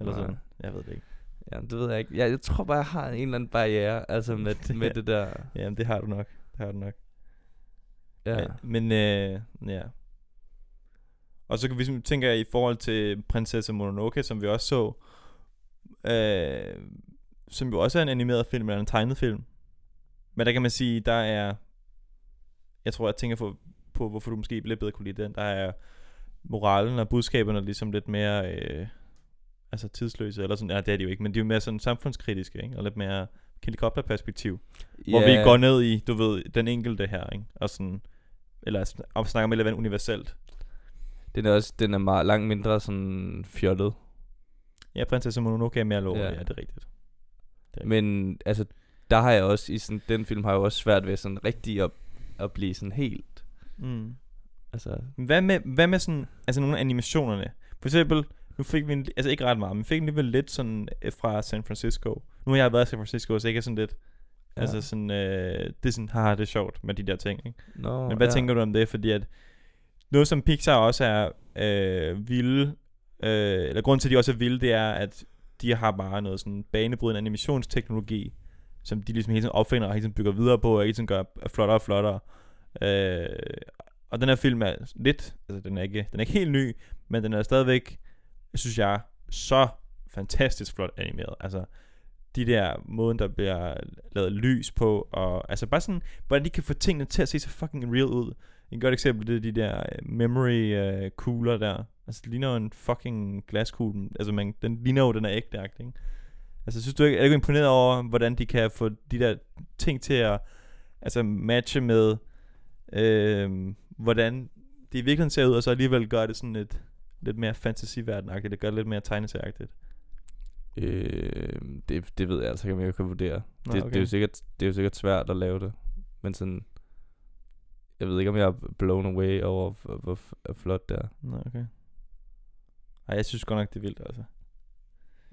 Eller
Nej.
sådan. Jeg ved det ikke.
Ja, det ved jeg ikke. Jeg, jeg tror bare, jeg har en eller anden barriere, altså med, med det der.
Jamen, det har du nok. Det har du nok.
Ja.
Men, men øh, ja. Og så kan vi ligesom- tænker jeg i forhold til Prinsesse Mononoke, som vi også så, øh, som jo også er en animeret film eller en tegnet film. Men der kan man sige, der er, jeg tror, jeg tænker på, på hvorfor du måske lidt bedre kunne lide den. Der er moralen og budskaberne ligesom lidt mere øh, altså tidsløse, eller sådan, nej, det er de jo ikke, men de er jo mere sådan samfundskritiske, ikke? og lidt mere helikopterperspektiv. Hvor vi går ned i, du ved, den enkelte her, ikke? Og sådan, eller sn- om snakker med lidt universelt.
Den er også den er meget, langt mindre sådan fjollet.
Ja, prinsesse Mononoke er mere lovlig, ja.
Ja.
ja, det er rigtigt. Ja.
Men altså, der har jeg også, i sådan, den film har jeg jo også svært ved sådan rigtig at, at blive sådan helt,
Mm.
altså,
Hvad med, hvad med sådan, altså nogle af animationerne? For eksempel, nu fik vi, en, altså ikke ret meget, men fik alligevel lidt sådan øh, fra San Francisco. Nu har jeg været i San Francisco, så jeg er sådan lidt, ja. altså sådan, øh, det er sådan, haha, det er sjovt med de der ting, ikke?
no,
Men hvad ja. tænker du om det? Fordi at noget som Pixar også er øh, vilde, øh, eller grund til, at de også er vilde, det er, at de har bare noget sådan banebrydende animationsteknologi, som de ligesom hele tiden opfinder og hele tiden bygger videre på, og hele tiden gør flottere og flottere. Øh, og den her film er lidt, altså den er, ikke, den er ikke helt ny, men den er stadigvæk, synes jeg, så fantastisk flot animeret. Altså, de der måden, der bliver lavet lys på, og altså bare sådan, hvordan de kan få tingene til at se så fucking real ud. Et godt eksempel, det er de der øh, memory øh, kugler der. Altså, det ligner jo en fucking glaskugle. Altså, man, den ligner jo, den er ægte ikke? Altså, synes du ikke, er du ikke imponeret over, hvordan de kan få de der ting til at altså, matche med, øh, hvordan det i virkeligheden ser ud, og så alligevel gør det sådan lidt, lidt mere fantasiverdenagtigt, det gør det lidt mere tegneserieagtigt.
Øh, det, det ved jeg altså ikke, om jeg kan vurdere.
Nå,
det, det,
okay.
er jo sikkert, det er jo sikkert svært at lave det. Men sådan, jeg ved ikke, om jeg er blown away over, hvor, hvor f- flot det er.
Nå, okay. Ej, jeg synes godt nok, det er vildt, altså.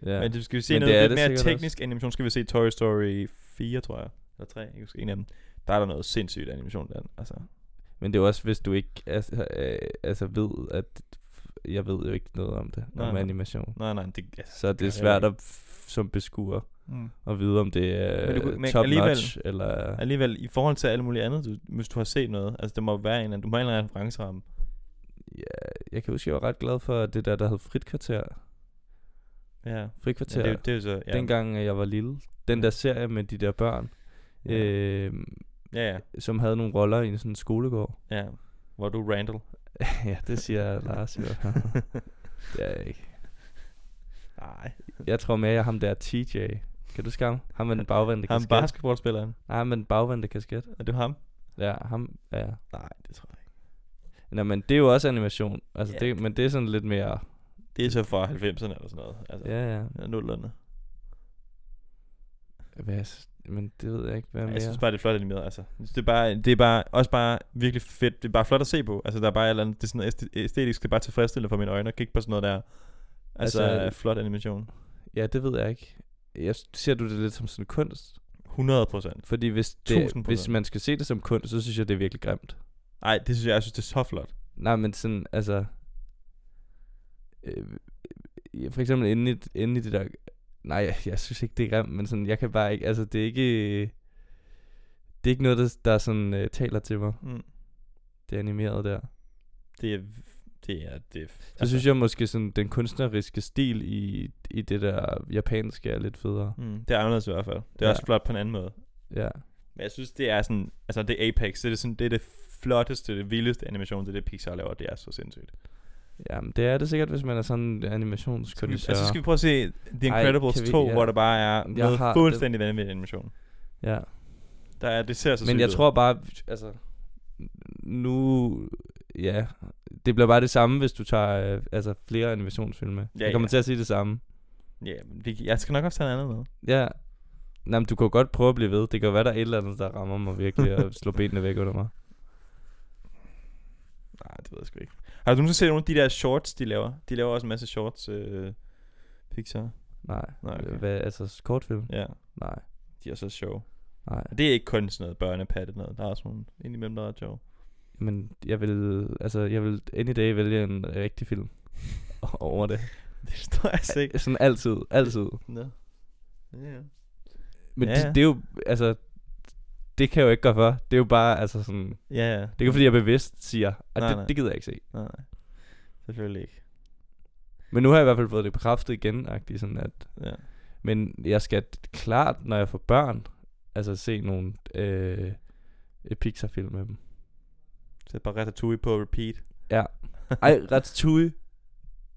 Ja.
Ja. Men det skal vi se
Men
noget
det er
lidt
det
mere
sikkert også.
teknisk også. animation, skal vi se Toy Story 4, tror jeg. Eller 3, jeg husker en af dem. Der er der noget sindssygt animation der. Altså.
Men det er jo også, hvis du ikke altså, øh, altså ved, at jeg ved jo ikke noget om det,
Nej,
om
nej.
animation.
Nej, nej, det, altså.
Så det
jeg
er svært at f- som beskuer
Mm.
at vide, om det er
Men du kunne- men
øh, top
alligevel-
notch, eller...
Alligevel, i forhold til alt muligt andet, du, hvis du har set noget, altså det må være en, eller anden- du må have en eller anden referenceramme.
Ja, jeg kan huske, jeg var ret glad for det der, der hed fritkvarter.
Ja. ja
Frikvarter.
det, er jo- det, er jo så, ja.
dengang øh, jeg var lille. Den der serie med de der børn,
Ja.
øh,
Ja, ja,
som havde nogle roller i en sådan skolegård.
ja. Hvor er du Randall.
ja, det siger Lars jo. det er jeg ikke.
Nej.
Jeg tror mere, jeg er ham der TJ. Kan du skamme? Ham med den bagvendte
Ham
kasket.
basketballspilleren.
Nej, ham med den bagvendte kasket.
Er du ham?
Ja, ham ja.
Nej, det tror jeg ikke.
Nå, men det er jo også animation. Altså,
Ja.
yeah. det, men det er sådan lidt mere...
Det er så fra 90'erne eller sådan noget. Altså, ja.
Ja, ja.
Nullerne.
Hvad, jeg s- men det ved jeg ikke, hvad
Ja,
mere...
jeg synes bare, det er flot animeret, altså. Jeg synes, Det er, bare, det er bare, også bare virkelig fedt. Det er bare flot at se på. Altså, der er bare et eller andet, det er sådan noget æste- æstetisk, det er bare tilfredsstillende for mine øjne at kigge på sådan noget der. Altså, altså
Altså-
flot animation.
Ja, det ved jeg ikke. Jeg s- ser du det lidt som sådan kunst?
100 procent.
Fordi hvis, det,
1000%.
hvis man skal se det som kunst, så synes jeg, det er virkelig grimt.
Nej, det synes jeg, jeg synes, det er så flot.
Nej, men sådan, altså... Øh, ja, for eksempel inde i, inde i det der... Nej, jeg, jeg synes ikke, det er grimt, men sådan, jeg kan bare ikke... Altså, det er ikke... Det er ikke noget, der, der sådan, øh, taler til mig,
Mm.
det animerede der.
Det er, det er, det er, altså,
Så synes jeg måske sådan, den kunstneriske stil i, i det der japanske er lidt federe.
Mm, det er anderledes i hvert fald. Det er ja.
Ja.
også flot på en anden måde.
Ja.
Men jeg synes, det er sådan, altså det er Apex, det er, sådan, det, er det flotteste, det vildeste animation, det er det Pixar laver, det er så sindssygt.
Jamen, det er det sikkert, hvis man er sådan en
Skal vi,
animationskunstner.
altså, skal vi prøve at se The
Ej,
Incredibles
kan vi-
2,
ja.
hvor der bare er noget
har-
fuldstændig vanvittig animation.
Ja.
Altså, Der er, det ser så
Men
sygt
jeg
ud.
tror bare, altså, nu, ja, det bliver bare det samme, hvis du tager øh, altså, flere animationsfilm med.
Ja,
Ja, jeg kommer
ja.
til at sige det samme.
Ja, men vi, jeg skal nok også tage en anden med.
Ja, Nej, men du kan godt prøve at blive ved. Det kan jo være, der er et eller andet, der rammer mig virkelig og slår benene væk under mig.
Nej, det ved jeg sgu ikke. Har du nogensinde set nogle af de der shorts, de laver? De laver også en masse shorts, øh,
Mm.
Pixar.
Nej,
Nej, okay.
Hvad, altså kortfilm?
Ja,
Nej,
de er så sjove.
nej.
Og det er ikke kun sådan noget børnepatte noget. Der er også nogle indimellem, der er sjove.
Men jeg vil, altså, jeg vil any day vælge en rigtig film over det.
Det står jeg altså ikke.
Sådan altid, altid.
Nå. Ja.
Men
Ja,
ja,
ja.
ja. Det, det er jo, altså, det kan jeg jo ikke gøre for. Det er jo bare, altså sådan,
Ja, ja.
Det er ikke fordi, jeg bevidst siger, at
Nej,
nej, det,
nej.
nej. det gider jeg ikke se.
Nej, nej. Selvfølgelig ikke.
Men nu har jeg i hvert fald fået det bekræftet igen, agtig, sådan at,
Ja.
men jeg skal t- klart, når jeg får børn, altså se nogle øh, øh, Pixar-film med dem.
Sæt bare Ratatouille på repeat.
Ej, Ratatouille.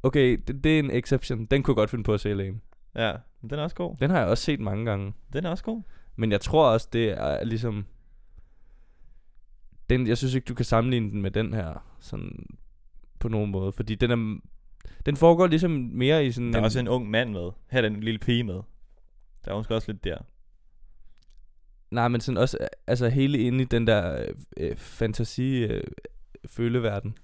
Okay, det, det er en exception. Den kunne jeg godt finde på at se alene.
Ja, men den er også god.
Den har jeg også set mange gange.
Den er også god.
Men jeg tror også, det er ligesom... Den, jeg synes ikke, du kan sammenligne den med den her, sådan på nogen måde. Fordi den er... Den foregår ligesom mere i sådan
Der er
en...
også en ung mand med. Her er den lille pige med. Der er hun sgu også lidt der.
Nej, men sådan også... Altså hele inde i den der øh, øh, fantasi... Øh, føleverden.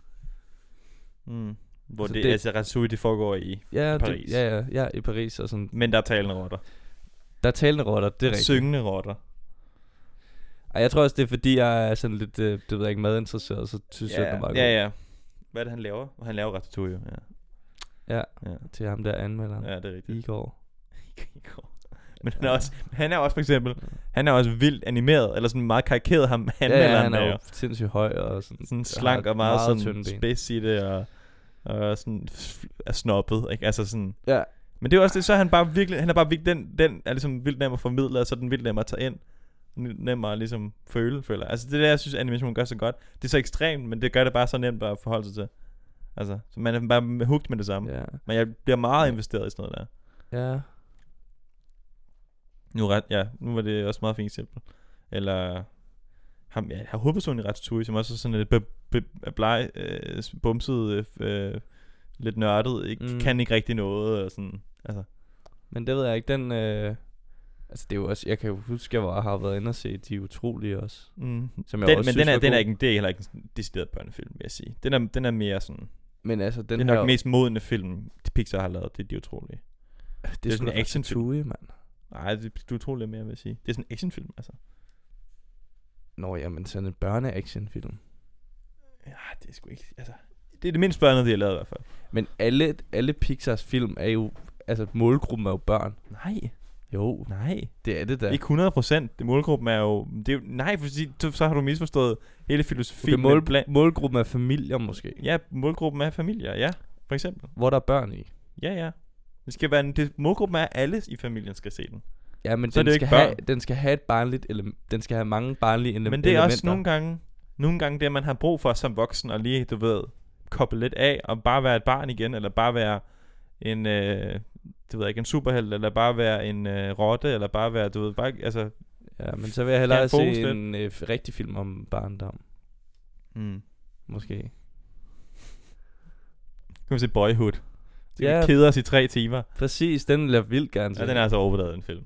Mm. Hvor altså, det,
Altså, det-
det, altså Ratsui, det foregår i.
Ja,
Paris.
Det, ja, ja, ja, i Paris og sådan.
Men der er talende rotter.
Der er talende rotter, det er rigtigt.
Syngende rotter.
Ej, jeg tror også, det er fordi, jeg er sådan lidt, øh, det ved jeg ikke, madinteresseret, så synes jeg, den er meget god.
ja, ja. Hvad er det, han laver? Han laver Ratatouille, jo. ja.
Ja.
ja.
Til ham der anmelderen. Ja.
Ja, det er rigtigt.
I går.
Men han er, også, han er også for eksempel, han er også vildt animeret, eller sådan meget karikeret ham, han
ja, ja,
han
han er jo
jo.
sindssygt høj og sådan.
Sådan
har
slank og meget,
meget
meget sådan
tynde ben.
spids i det, og, og sådan f- er snobbet, ikke? Altså sådan.
Ja.
Men det er jo også det, så er han bare virkelig, han er bare virkelig, den, den er ligesom vildt nem at formidle, og så er den vildt nem at tage ind. N- Nem at ligesom føle, føler jeg. Altså det er det, jeg synes, animation gør så godt. Det er så ekstremt, men det gør det bare så nemt at forholde sig til. Altså, så man er bare hugt med det samme.
Ja.
Men jeg bliver meget investeret i sådan noget der.
ja.
Nu, er ret, ja, nu var det også et meget fint eksempel. Eller ham, ja, har hovedpersonen i Ratatouille, som også er sådan lidt be, be, bleg, øh, s- bumset, øh, øh, lidt nørdet, ikke,
Mm.
mm. kan ikke rigtig noget, og sådan, altså,
Men det ved jeg ikke, den... Øh, altså, det er jo også... Jeg kan jo huske, jeg var, har været inde og se De Utrolige også.
mm. Den,
Som jeg
men
også synes
den er,
var
den er
god.
ikke, en- det er heller ikke en sådan decideret børnefilm, vil jeg sige. Den er, den er mere sådan, den
Men altså, den
det er
her...
nok mest modne film, de Pixar har lavet, det er de utrolige.
det
det er
er sgu
sådan
da
en actionfilm.
Ratatouille, mand.
Nej, det er de utrolige mere, vil jeg sige. Det er sådan en actionfilm, altså.
Nå, jamen, sådan en børne-actionfilm.
Ja, det er sgu ikke, altså, det er det mindst børnede, de har lavet i hvert fald.
Men alle, alle Pixars film er jo... Altså, målgruppen er jo børn.
Nej,
Jo,
nej.
det er det
Ja.
da.
Ikke 100 procent. Målgruppen er jo... Det er jo nej, for så- så, så har du misforstået hele filosofien.
Okay, mål,
med bland-
målgruppen er familier måske,
ja, målgruppen er familier, ja. For eksempel.
hvor der er børn i.
Ja, ja. Det skal være en, det, målgruppen er, at alle i familien skal se den.
Ja, men
Så er
den,
det jo
skal
ikke børn.
have, den skal have et barnligt element. Den skal have mange barnlige ele-
Men det er
elementer.
også nogle gange, nogle gange det, man har brug for som voksen at lige, du ved, koble lidt af og bare være et barn igen, eller bare være en, øh, det ved jeg ikke, en superheld, eller bare være en øh, rotte, eller bare være, du ved, bare, altså...
Ja, men så vil jeg
Have
hellere
fokus
se
lidt.
en øh, f- rigtig film om barndom,
Mm.
måske.
Kan man se Boyhood? Det
Ja.
yeah. keder os i tre timer.
Præcis, den vil jeg vildt gerne se.
Ja, den er altså overvurderet, den film.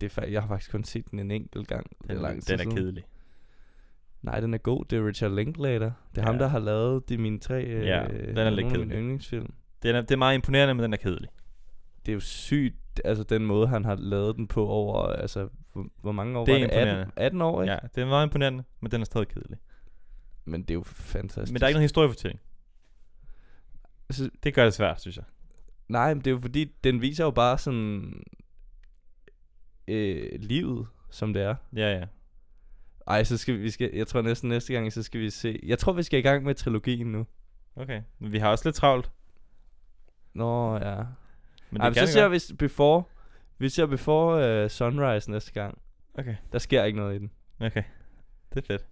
det er, fa- jeg har faktisk kun set den en enkelt gang. Det
Den,
er lang tid
den er
siden.
kedelig.
Nej, den er god. Det er Richard Linklater. Det er ja. ham,
Ja.
der har lavet de mine tre... Øh,
Ja, den er lidt
nogle af mine
kedelig.
yndlingsfilm.
Den er, det er meget imponerende, men den er kedelig.
Det er jo sygt, altså den måde, han har lavet den på over, altså, hvor, hvor mange år
Det er
var det? 18,
imponerende.
18 år, ikke?
Ja, det er meget imponerende, men den er stadig kedelig.
Men det er jo fantastisk.
Men der er ikke noget historiefortælling.
Altså,
Det gør det svært, synes jeg.
Nej, men det er jo fordi, den viser jo bare sådan øh, livet, som det er.
Ja, ja.
Ej, så skal vi, vi skal, jeg tror næsten næste gang, så skal vi se. Jeg tror, vi skal i gang med trilogien nu.
Okay. Men vi har også lidt travlt.
Nå, ja.
Men
Ej,
det
men
kan
så
det
ser
godt.
vi s- Before, vi ser Before uh, Sunrise næste gang.
Okay.
Der sker ikke noget i den.
Okay. Det er fedt.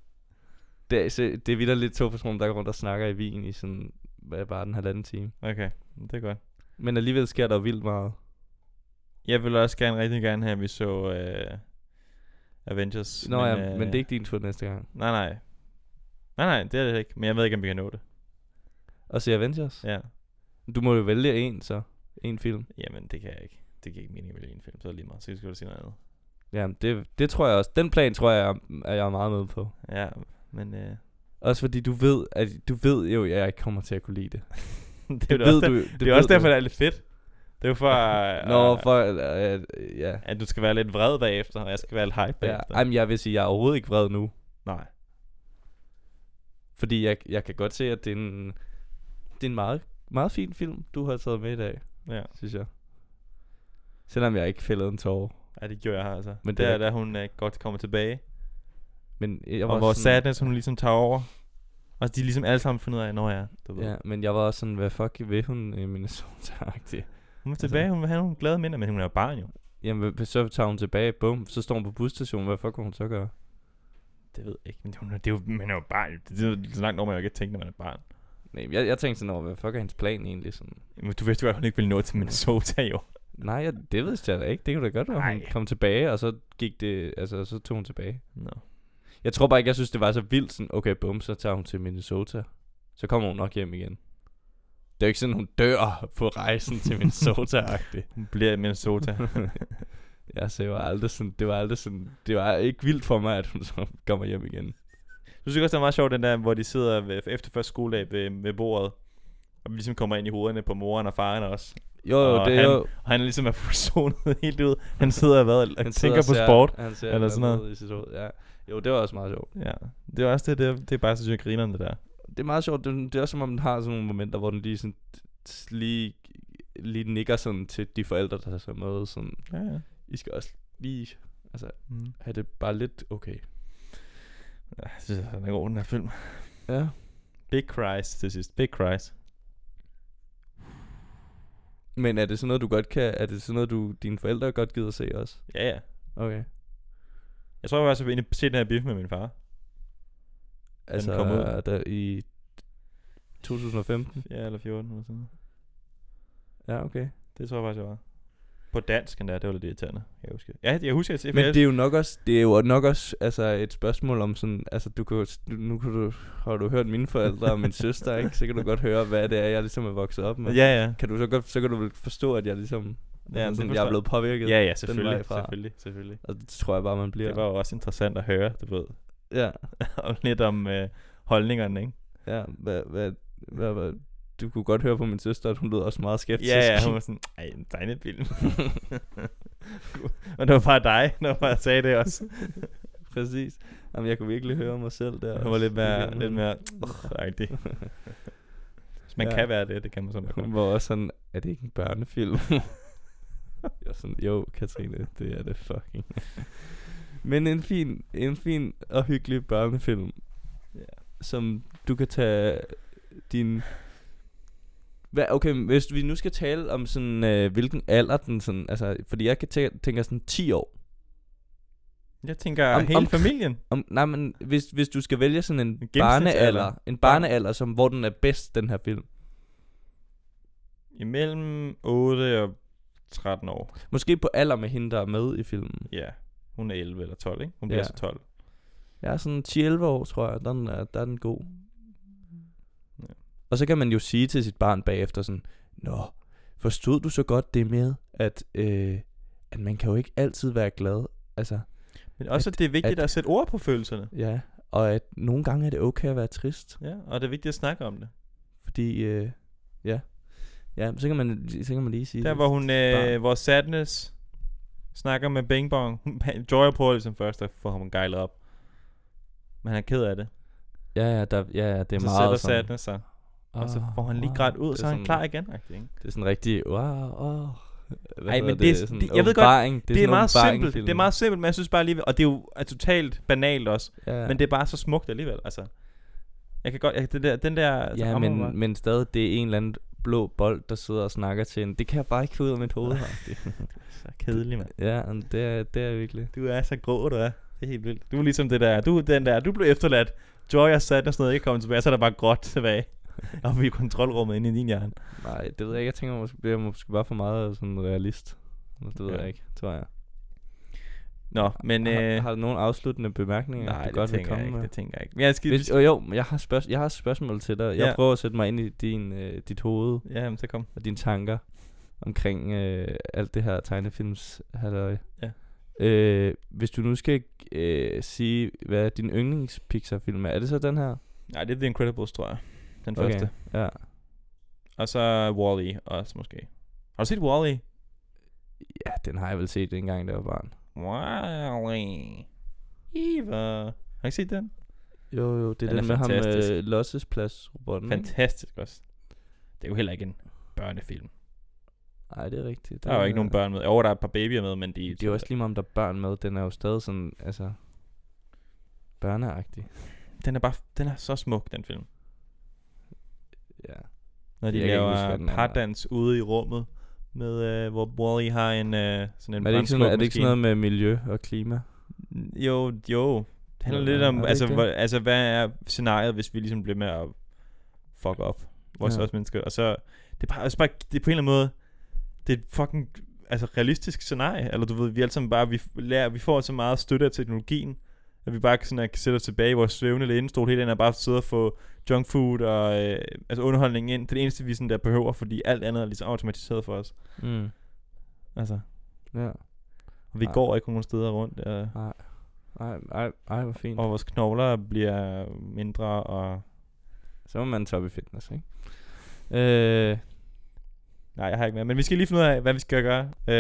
Det er, så, det er vidt lidt to personer, der går rundt og snakker i Wien i sådan, hvad bare den halvanden time.
Okay. Det er godt.
Men alligevel sker der jo vildt meget.
Jeg ville også gerne rigtig gerne have, at vi så øh, Avengers.
Nå men, ja,
øh,
men det er ikke din tur næste gang.
Nej, nej. Nej, nej, det er det ikke. Men jeg ved ikke, om vi kan nå det.
Og se Avengers.
Ja.
Du må jo vælge en, så. En film.
Jamen, det kan jeg ikke. Det giver ikke mening at vælge en film. Så er det lige meget. Så skal du sige noget andet.
Jamen, det, det tror jeg også. Den plan tror jeg, at jeg er meget med på.
Ja, men... Øh,
Også fordi du ved, at du ved jo, at jeg ikke kommer til at kunne lide det.
det, er
Det,
jo
ved
også,
du,
der,
det,
det er også
ved
derfor,
du.
det er lidt fedt. Det er jo for... øh,
Nå,
øh,
for, øh, øh, ja.
at du skal være lidt vred bagefter, og jeg skal være lidt hype
ja.
bagefter.
Ej, men jeg vil sige, at jeg er overhovedet ikke vred nu.
Nej.
Fordi jeg, jeg kan godt se, at det er en, det er en meget, meget fin film, du har taget med i dag,
Ja.
synes jeg. Selvom jeg ikke fældede en tårer.
ja, det gjorde jeg her, altså.
Men
Men
det er
der,
ikke-
da hun øh, godt kommer tilbage.
Men jeg var
Og hvor
sådan,
sadness hun ligesom tager over. Og de ligesom alle sammen finder ud af, når jeg er, du ved.
Ja, men jeg var også sådan, hvad fuck vil hun i Minnesota-agtig?
Hun er tilbage, hun vil have nogle glade minder, men hun er jo barn jo.
Jamen, hvad- så tager hun tilbage, bum, så står hun på busstationen, hvad fuck vil hun så gøre?
Det ved jeg ikke, men hun er, det er jo, man er jo barn. jo. Det er jo så langt over, man jo ikke tænker, når man er barn.
Nej, jeg, jeg tænkte sådan over, hvad fuck er hendes plan egentlig sådan?
Men du vidste jo godt, at hun ikke ville nå til Minnesota jo.
Nej, jeg, det vidste jeg da ikke, det kunne da godt være, hun
Nej.
kom tilbage, og så gik det, altså, så tog hun tilbage.
Nå.
Jeg tror bare ikke, jeg synes, det var så vildt sådan, okay, bum, så tager hun til Minnesota. Så kommer hun nok hjem igen. Det er jo ikke sådan, hun dør på rejsen til Minnesota-agtigt.
Hun bliver i Minnesota.
ja, så jeg var aldrig sådan, det var aldrig sådan, det var ikke vildt for mig, at hun så kommer hjem igen.
Du synes også, det er meget sjovt, den der, hvor de sidder ved, efter første skoledag ved, ved bordet. Og vi ligesom kommer ind i hovederne på moren og faren også.
Jo, jo,
Og
det er
han
jo...
og han er ligesom er forsonet helt ud. Han sidder og, hvad, og
han
tænker
sidder
på
og ser-
sport.
han ser
eller
eller
sådan
sådan
noget.
I sit hoved, ja. Jo, det var også meget sjovt.
Ja, det er også det, det, er- det er bare så synes jeg grineren, det der.
Det er meget sjovt, det, det er også som om, den har sådan nogle momenter, hvor den lige sådan, lige, lige nikker sådan til de forældre, der så med, sådan,
Ja, ja.
I skal også lige altså,
Mm.
have det bare lidt okay.
ja jeg synes, den er god, den her film.
Ja.
Big Cries til sidst. Big Cries.
Men er det sådan noget, du godt kan, er det sådan noget, du, dine forældre godt gider se også?
Ja, ja.
Okay.
Jeg tror, jeg var også inde og se den her biff med min far.
Mm. Altså,
kom ud.
Der, i 2015?
Ja, eller 14 eller sådan noget.
Ja, okay.
Det tror jeg faktisk, jeg var. På dansk endda, det var lidt irriterende. Jeg husker. Ja, jeg husker, at jeg
Men det er jo nok også, det er jo nok også altså et spørgsmål om sådan, altså du kan, jo s- nu- nu kan du, har du hørt mine forældre og min søster, ikke? så kan du godt høre, hvad det er, jeg ligesom er vokset op med.
Ja, ja.
Kan du så godt, så kan du vel forstå, at jeg ligesom,
Ja,
ja,
det
sådan, jeg
forstår-
er blevet påvirket.
Ja, ja, selvfølgelig.
vej fra.
Selvfølgelig, selvfølgelig.
Og det tror jeg bare, man bliver.
Det var jo også interessant at høre, du ved.
Ja,
Og lidt om øh, holdningerne, ikke?
ja, hvad, hvad, hvad, hvad, du kunne godt høre på min søster, at hun lød også meget skeptisk.
Ja, ja, hun var sådan, ej, en tegnefilm. Og det var bare dig, når jeg sagde det også.
Præcis. Jamen, jeg kunne virkelig høre mig selv der.
Hun var lidt mere,
Virkelig.
lidt mere, rigtig. Hvis man
Ja.
kan være det, det kan man sådan godt.
Hun var også sådan, er det ikke en børnefilm? jeg var sådan, jo, Katrine, det er det fucking. Men en fin, en fin og hyggelig børnefilm,
Ja.
som du kan tage din... Hvad, okay, hvis vi nu skal tale om sådan, øh, hvilken alder den sådan, altså, fordi jeg kan tæ- tænker sådan 10 år.
Jeg tænker,
Om-
hele
om-
familien.
Om, nej, men hvis, hvis du skal vælge sådan en, en
gennemsnitsalder.
barnealder, en barnealder, som, hvor den er bedst, den her film.
Imellem 8 og 13 år.
Måske på alder med hende, der er med i filmen.
Ja, hun er 11 eller 12, ikke? Hun bliver
Ja.
så 12.
Ja, sådan 10-11 år, tror jeg, der er, den, øh, der er den god.
Ja.
Ja. Og så kan man jo sige til sit barn bagefter sådan, Nå, forstod du så godt det med, at, øh, at man kan jo ikke altid være glad, altså,
Men også, at, det er vigtigt at, at sætte ord på følelserne.
ja, og at nogle gange er det okay at være trist,
Ja, og det er vigtigt at snakke om det.
fordi, øh, ja, ja, så kan, man, så kan man lige sige
Der
det.
hvor hun,
barn.
øh, hvor Sadness snakker med Bing Bong. Hun- han- Joy prøver ligesom først at få ham gejlet op. Men han er ked af det.
Ja, ja, der, ja, ja, det er
så sætter
meget sådan,
Sadness sig.
"Åh,
Og så får han lige
wow."
grædt ud,
Det
så er han
sådan-
klar igen. agtig, Ikke?
Det er sådan rigtig, wow, åh. Hvad
Ej,
hedder
men det er sådan- det- jeg ved godt,
åbenbaring.
Det, det er
sådan en
meget simpelt.
åbenbaring-film.
Det er meget simpelt, men jeg synes bare alligevel, og det er jo er totalt banalt også,
ja.
ja. men det er bare så smukt alligevel. Altså, jeg kan godt, jeg, den der, den der altså, så
Ja,
rammer mig.
men, men stadig, det er en eller anden blå bold, der sidder og snakker til en. Det kan jeg bare ikke få ud af mit hoved. agtigt.
så kedelig, mand.
ja, men det er, det er virkelig.
Du er så grå, du er. Det er helt vildt. Du er ligesom det der, du er den der, du blev efterladt. Joy og Sadness noget ikke kommet tilbage, så er der bare gråt tilbage. og vi i kontrolrummet inde i din hjerne.
Nej, det ved jeg ikke. Jeg tænker, jeg måske, jeg måske bare for meget sådan realist. Eller Det ved
Ja.
jeg ikke, tror jeg.
Nå, men...
har,
Øh,
har du nogle afsluttende bemærkninger,
nej,
du
det,
godt vil
tænker
komme
jeg ikke,
med?
det tænker jeg ikke. Men jeg skal,
Hvis, jo, jo, men jeg har, spørg- jeg har spørgsmål til dig. Jeg
Ja.
prøver at sætte mig ind i din, øh, dit hoved
ja, jamen, så kom.
og dine tanker omkring øh, alt det her tegnefilms halløj.
Ja.
Øh, hvis du nu skal øh, sige, hvad din yndlings Pixar-film er, er det så den her?
Nej, det er The Incredibles, tror jeg. Den okay. første.
Ja.
Og så Wall-E også måske. Har du set Wall-E?
ja, den har jeg vel set dengang, da jeg var barn.
Wall-E. Eva. Har du ikke set den?
Jo, jo, det
Den er fantastisk.
øh,
Mm.
lossesplads-robotten. ikke?
Fantastisk også. Det er jo heller ikke en børnefilm.
Nej, det er rigtigt.
Der er jo
Den
ikke nogen børn med. Jo, der er et par babyer med, men de...
Det er jo også lige meget, om der er børn med. Den er jo stadig sådan, altså, børneagtig.
den er bare den er så smuk, den film.
Ja.
Når de
Jeg kan ikke huske,
laver
hvad den er.
pardans ude i rummet, med, øh, hvor Wally har en, øh, sådan en
Men er det, ikke sådan, er det ikke
brandslukmaskine.
sådan noget med miljø og klima?
Jo, jo. Det handler
Eller
lidt
hvad?
om,
Er det
altså,
ikke
hvor,
det?
altså, hvad er scenariet, hvis vi ligesom bliver med at fuck op vores
Ja.
ja. mennesker. Og så, det er bare, altså bare, det er på en eller anden måde, det er et fucking altså, realistisk scenarie. Eller du ved, vi alle sammen bare, vi, lærer, vi får så meget støtte af teknologien, at vi bare kan, sådan, at kan sætte os tilbage i vores svævende lænestol hele dagen, og bare sidde og få junk food og øh, altså underholdning ind. Det er det eneste, vi sådan der behøver, fordi alt andet er ligesom automatiseret for os.
Mm.
Altså,
Ja.
og vi
Ej.
går ikke nogen steder rundt. Øh.
Nej. Ej, ej, ej, hvor fint.
Og vores knogler bliver mindre, og...
Så må man toppe i fitness, ikke? Øh,
Nej, jeg har ikke mere. Men vi skal lige finde ud af, hvad vi skal gøre. Øh...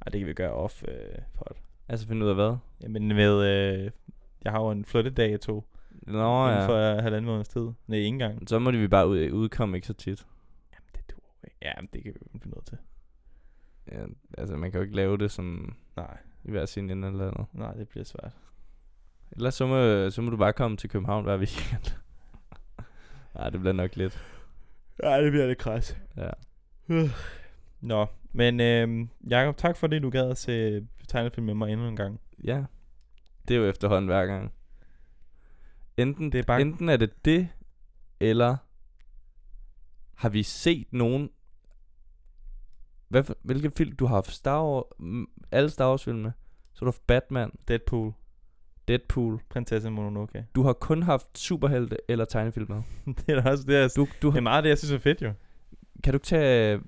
Ej, det kan vi gøre off øh, pod.
altså finde ud af hvad?
Jamen med... Øh... Jeg har jo en flyttedato
Nå
inden
ja.
for øh, halvanden måneds tid. Nej, ikke engang.
Så må de vi bare ud, udkomme ikke så tit.
Jamen, det duer jo ikke. Jamen, det kan vi jo blive nødt til.
Ja, altså man kan jo ikke lave det sådan
Nej,
i hver sin ende eller andet.
nej, det bliver svært.
Ellers så må, så må du bare komme til København hver weekend. Nej, det bliver nok lidt.
Nej, det bliver lidt kras.
Ja.
Nå, men øh, Jacob, tak for det, du gad at se tegnefilm med mig endnu en gang.
ja. Det er jo efterhånden hver gang. Enten,
Det er bare-
enten er det det, eller har vi set nogen... Hvad, for- hvilke film? Du har haft Star Wars, m- alle Star Wars filmene. Så har du haft Batman,
Deadpool,
Deadpool.
Prinsesse Mononoke.
Du har kun haft superhelte eller tegnefilm med.
det er da også det, jeg,
Du, du
det er
har,
meget af det, jeg synes er fedt, jo.
kan du ikke tage...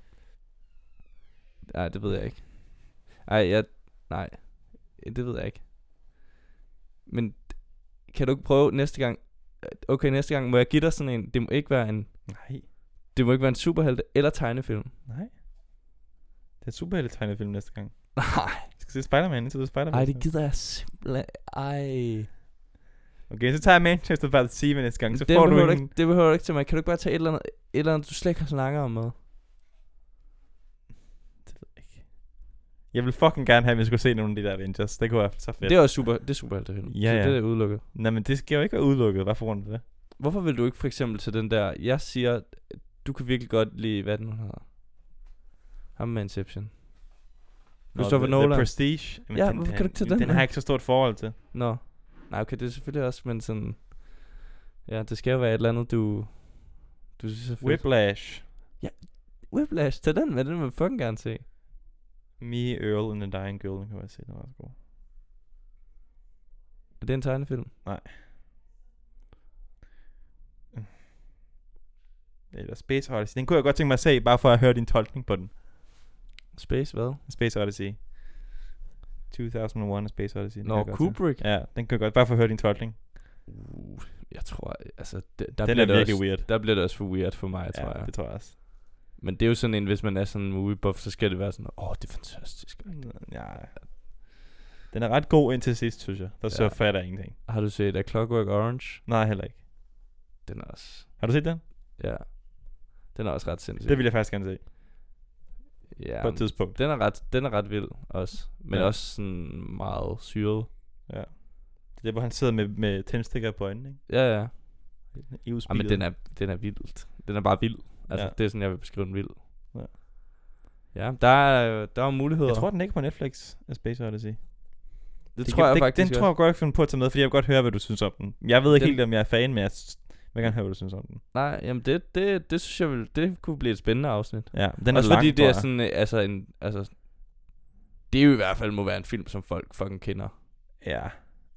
Nej, det ved jeg ikke. Ej, jeg... Nej. Det ved jeg ikke. Men kan du ikke prøve næste gang... Okay, næste gang må jeg give dig sådan en... Det må ikke være en...
Nej.
Det må ikke være en superhelte eller tegnefilm.
Nej. Det er super tegnefilm film næste gang.
Nej.
Vi skal se Spider-Man, indtil du er Spider-Man.
Ej, det gider jeg simpelthen... Ej.
Okay, så tager jeg Manchester by the Sea med næste gang, så
det,
får du
behøver
en...
du ikke, det behøver du ikke til mig. Kan du ikke bare tage et eller andet, et eller andet du slet ikke har snakket om med?
Det ved jeg ikke. Jeg vil fucking gerne have, at vi skulle se nogle af de der Avengers. Det kunne være så fedt.
Det er også super, det er superheltefilm.
Ja,
så
ja.
det er udelukket.
Nej, men det skal jo ikke være udelukket, bare for grund af det.
Hvorfor vil du ikke for eksempel til den der, jeg siger, du kan virkelig godt lide, hvad den nu hedder? Ham med Inception. Christopher
the, the
Nolan.
Prestige. Jamen,
Ja, hvorfor kan du ikke tage den
Den
med?
har jeg ikke så stort forhold til.
Nå. Nej, okay, det er selvfølgelig også, men sådan... Ja, det skal jo være et eller andet, du... Du synes er fedt.
Whiplash.
Whiplash, tag den med, den vil jeg fucking gerne se.
Me, Earl and the Dying Girl, den kan jeg se, den var så god.
Er det en tegnefilm?
Eller Space Odyssey. Den kunne jeg godt tænke mig at se, bare for at høre din tolkning på den.
Space, hvad?
Space Odyssey. 2001 A Space Odyssey. den kan
Nå,
jeg godt se.
Kubrick.
Ja, den kan jeg godt. Bare for at høre din tolkning.
Uh, jeg tror, altså... Det, der
Den
bliver
er
det
virkelig
også,
weird.
Der bliver det også for weird for mig, tror jeg.
det tror jeg også.
Men det er jo sådan en, hvis man er sådan en movie buff, så skal det være sådan, åh, oh, det er fantastisk.
Mm. Ja. Den er ret god indtil sidst, synes jeg. Der så
Ja.
fatter jeg ingenting.
Har du set A Clockwork Orange?
Nej, heller ikke.
Den er også...
Har du set den?
Ja. Den er også ret sindssyg.
Det vil jeg faktisk gerne se
ja,
på et tidspunkt.
den er ret, den er ret vild også. Men
Ja.
ja. også sådan meget syret.
Ja. Det er der, hvor han sidder med, med tændstikker på øjnene, ikke?
Ja, ja.
I
Ej, men den er, den er vildt. Den er bare vild. Altså,
Ja.
ja. det er sådan, jeg vil beskrive den vild.
Ja.
Ja. Ja, der er, der er muligheder.
Jeg tror, den ikke er på Netflix, A Space Odyssey. Det,
det, tror jeg
det,
faktisk
Den tror jeg godt, jeg kan finde på at tage med, fordi jeg vil godt høre, hvad du synes om den. Jeg ved ikke
Den-
helt, om jeg er fan, men jeg s- vil gerne høre, hvad du synes om den.
Nej, jamen det, det, det synes jeg vil, det kunne blive et spændende afsnit.
Ja, den
Den
er
også
lang,
fordi
tror
det er
jeg.
sådan, øh, altså en, altså, det er jo i hvert fald må være en film, som folk fucking kender.
Ja.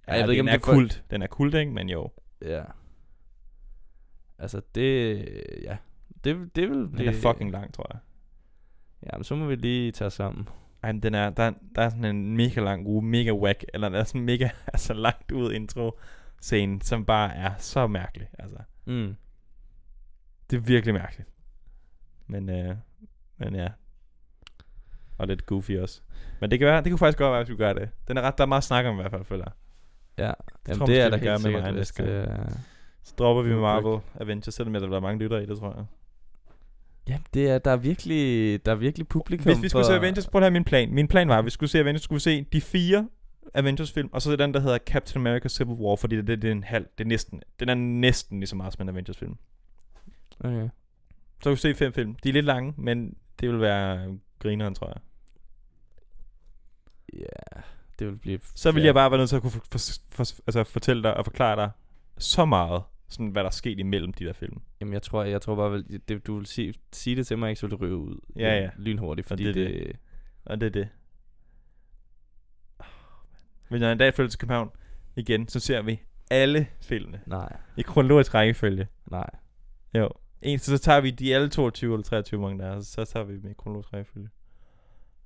Ja,
jeg ved ikke,
den
om
er
det er for-
kult. Den er kult, ikke? Men jo.
Ja. Altså det, ja. Det, det vil
Den
blive...
er fucking lang, tror jeg.
Jamen, så må vi lige tage os sammen.
Ej, men den er, der, er- der er sådan en mega lang uge, mega whack, eller der er sådan en mega altså, langt ud intro scene, som bare er så mærkelig. Altså,
Mm.
det er virkelig mærkeligt. Men, øh, men ja. Og lidt goofy også. Men det kan, være, det kunne faktisk godt være, hvis vi gør det. Den er ret, der er meget snak om i hvert fald, føler jeg.
Ja,
Det
Jamen,
tror
det,
jeg
er
måske,
der
vi gør
helt
med
sikkert,
Ryan
hvis øh,
næste
det er...
Så dropper vi
Det er
Marvel Avengers, selvom der er mange lytter i det, tror jeg.
Jamen, det er, der er virkelig, der er virkelig publikum
Hvis vi skulle
for...
se Avengers, prøv at have min plan. Min plan var, at vi skulle se Avengers, skulle vi se de fire Avengers-film, og så er der den, der hedder Captain America Civil War, fordi det, det, det er en halv, det er næsten, den er næsten lige så meget som en Avengers-film.
Okay.
Så kan du se fem film. De er lidt lange, men det vil være grineren, tror jeg.
Ja, det vil blive...
Så ville
ja.
jeg bare være nødt til at kunne for, for, for, altså fortælle dig og forklare dig så meget, sådan hvad der er sket imellem de der film.
Jamen, jeg tror, jeg tror bare, vel, det, du vil sige, sige det til mig, ikke, så vil det ryge ud.
Ja,
øh,
ja.
Lynhurtigt, fordi
det
det,
er
det, det...
Og det er det. Hvis jeg en dag flytter til København igen, så ser vi alle filmene.
Nej,
I kronologisk rækkefølge.
nej.
Jo. En, så, så tager vi de alle 22 eller 23 mange der er, og så tager vi dem i kronologisk rækkefølge.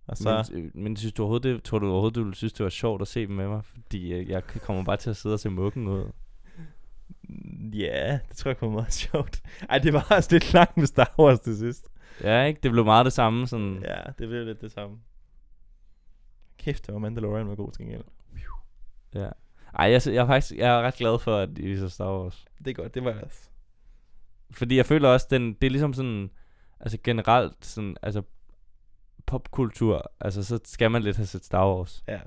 Og så... Men,
Men, øh, men synes du overhovedet, det, tror du overhovedet, du ville synes, det var sjovt at se dem med mig? Fordi øh, jeg kommer bare til at sidde og se mukken ud.
ja, det tror jeg kunne være meget sjovt. Ej, det var også lidt langt med Star Wars til sidst.
Ja, ikke? Det blev meget det samme, sådan... Ja.
Ja, det blev lidt det samme. Kæft, det var Mandalorian var god til gengæld.
ja. Ej, jeg, sy- jeg, er faktisk, jeg er ret glad for, at I viser Star Wars.
Det er godt, det var jeg også.
Fordi jeg føler også, den, det er ligesom sådan... Altså generelt, sådan... Altså popkultur, altså så skal man lidt have set Star Wars.
Ja.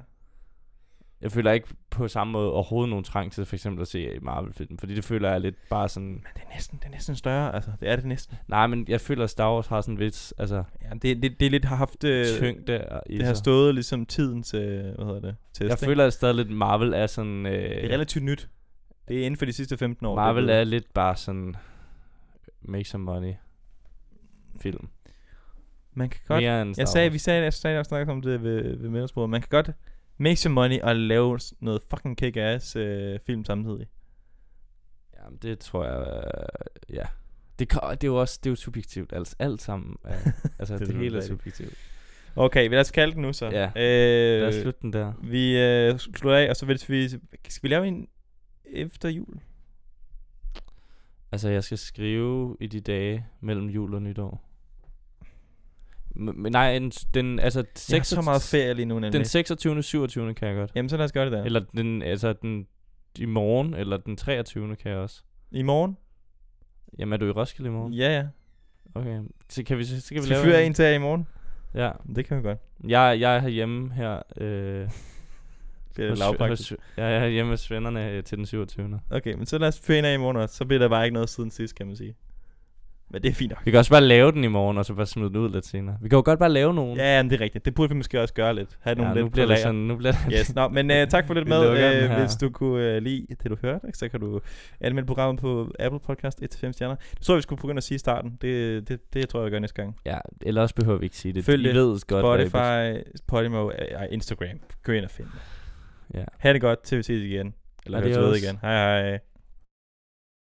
Jeg føler ikke på samme måde overhovedet nogen trang til for eksempel at se Marvel-film, fordi det føler jeg lidt bare sådan...
Men det er næsten, det er næsten større, altså. Det er det næsten.
Nej, men jeg føler, at Star Wars har sådan lidt altså,
Ja, det, det, det er lidt har haft... Øh,
tyngde og i
det har
sig.
stået ligesom tidens, øh, hvad hedder det, test.
Jeg
ikke?
føler at stadig lidt, Marvel er sådan...
det er
Øh,
relativt nyt. Det er inden for de sidste 15 år. det
Marvel
blevet-
er lidt bare sådan... Make some money. Film.
Man kan godt...
Mere end Star
Jeg sagde,
Wars.
vi sagde, jeg sagde, jeg snakkede om det ved, ved middagsbordet. Man kan godt make some money og lave s- noget fucking kick-ass øh, film samtidig.
Jamen, det tror jeg... Øh, ja. Det, kan, det er jo også det er jo subjektivt. Altså, alt sammen. Er, altså,
Det er
det, det hele er
rigtigt.
subjektivt.
Okay, lad os kalde den nu så.
Ja.
Øh,
Lad os slutte den der.
Vi øh, slutter af, og så vil vi... Skal vi lave en efter jul?
Altså, jeg skal skrive i de dage mellem jul og nytår. Men men nej, den, den altså...
Jeg har så
26
meget ferie lige nu, nemlig.
Den 26. 27. kan jeg godt.
Jamen, så lad os gøre det der.
Eller den, altså den i morgen, eller den 23. kan jeg også.
I morgen?
Jamen, er du i Roskilde i morgen?
Ja, ja.
Okay, så kan vi, så kan vi
Skal vi
lave
fyre en til jer i morgen?
Ja,
Det kan vi godt.
jeg, jeg er herhjemme her. Øh,
Det er
hos-
lavpraktisk.
hos- ja, jeg er hjemme hos vennerne øh, til den 27.
Okay, men så lad os fyre en af i morgen også. Så bliver der bare ikke noget siden sidst, kan man sige. Men det er fint nok.
Vi kan også bare lave den i morgen, og så bare smide den ud lidt senere. Vi kan jo godt bare lave nogen.
Ja, jamen, det er rigtigt. Det burde vi måske også gøre lidt. Have nogle
nu
lidt
bliver
på
det
lager.
sådan, nu bliver det
Yes, no, men uh, tak for lidt
Vi
med.
lukker den
Uh,
her.
hvis du kunne uh, lide det, du hørte, ikke, så kan du anmelde programmet på Apple Podcast 1-5 stjerner. Det tror jeg, vi skulle begynde at sige i starten. Det, det, det tror jeg, jeg gør næste gang.
Ja, ellers behøver vi ikke sige det.
Følg
I
det.
ved godt, hvad I bet-
Spotify, Podimo, uh, Instagram. Gå ind og find det.
Ja.
Ha' det godt, til vi ses igen. Eller
Adios.
høres ved igen. Hej hej.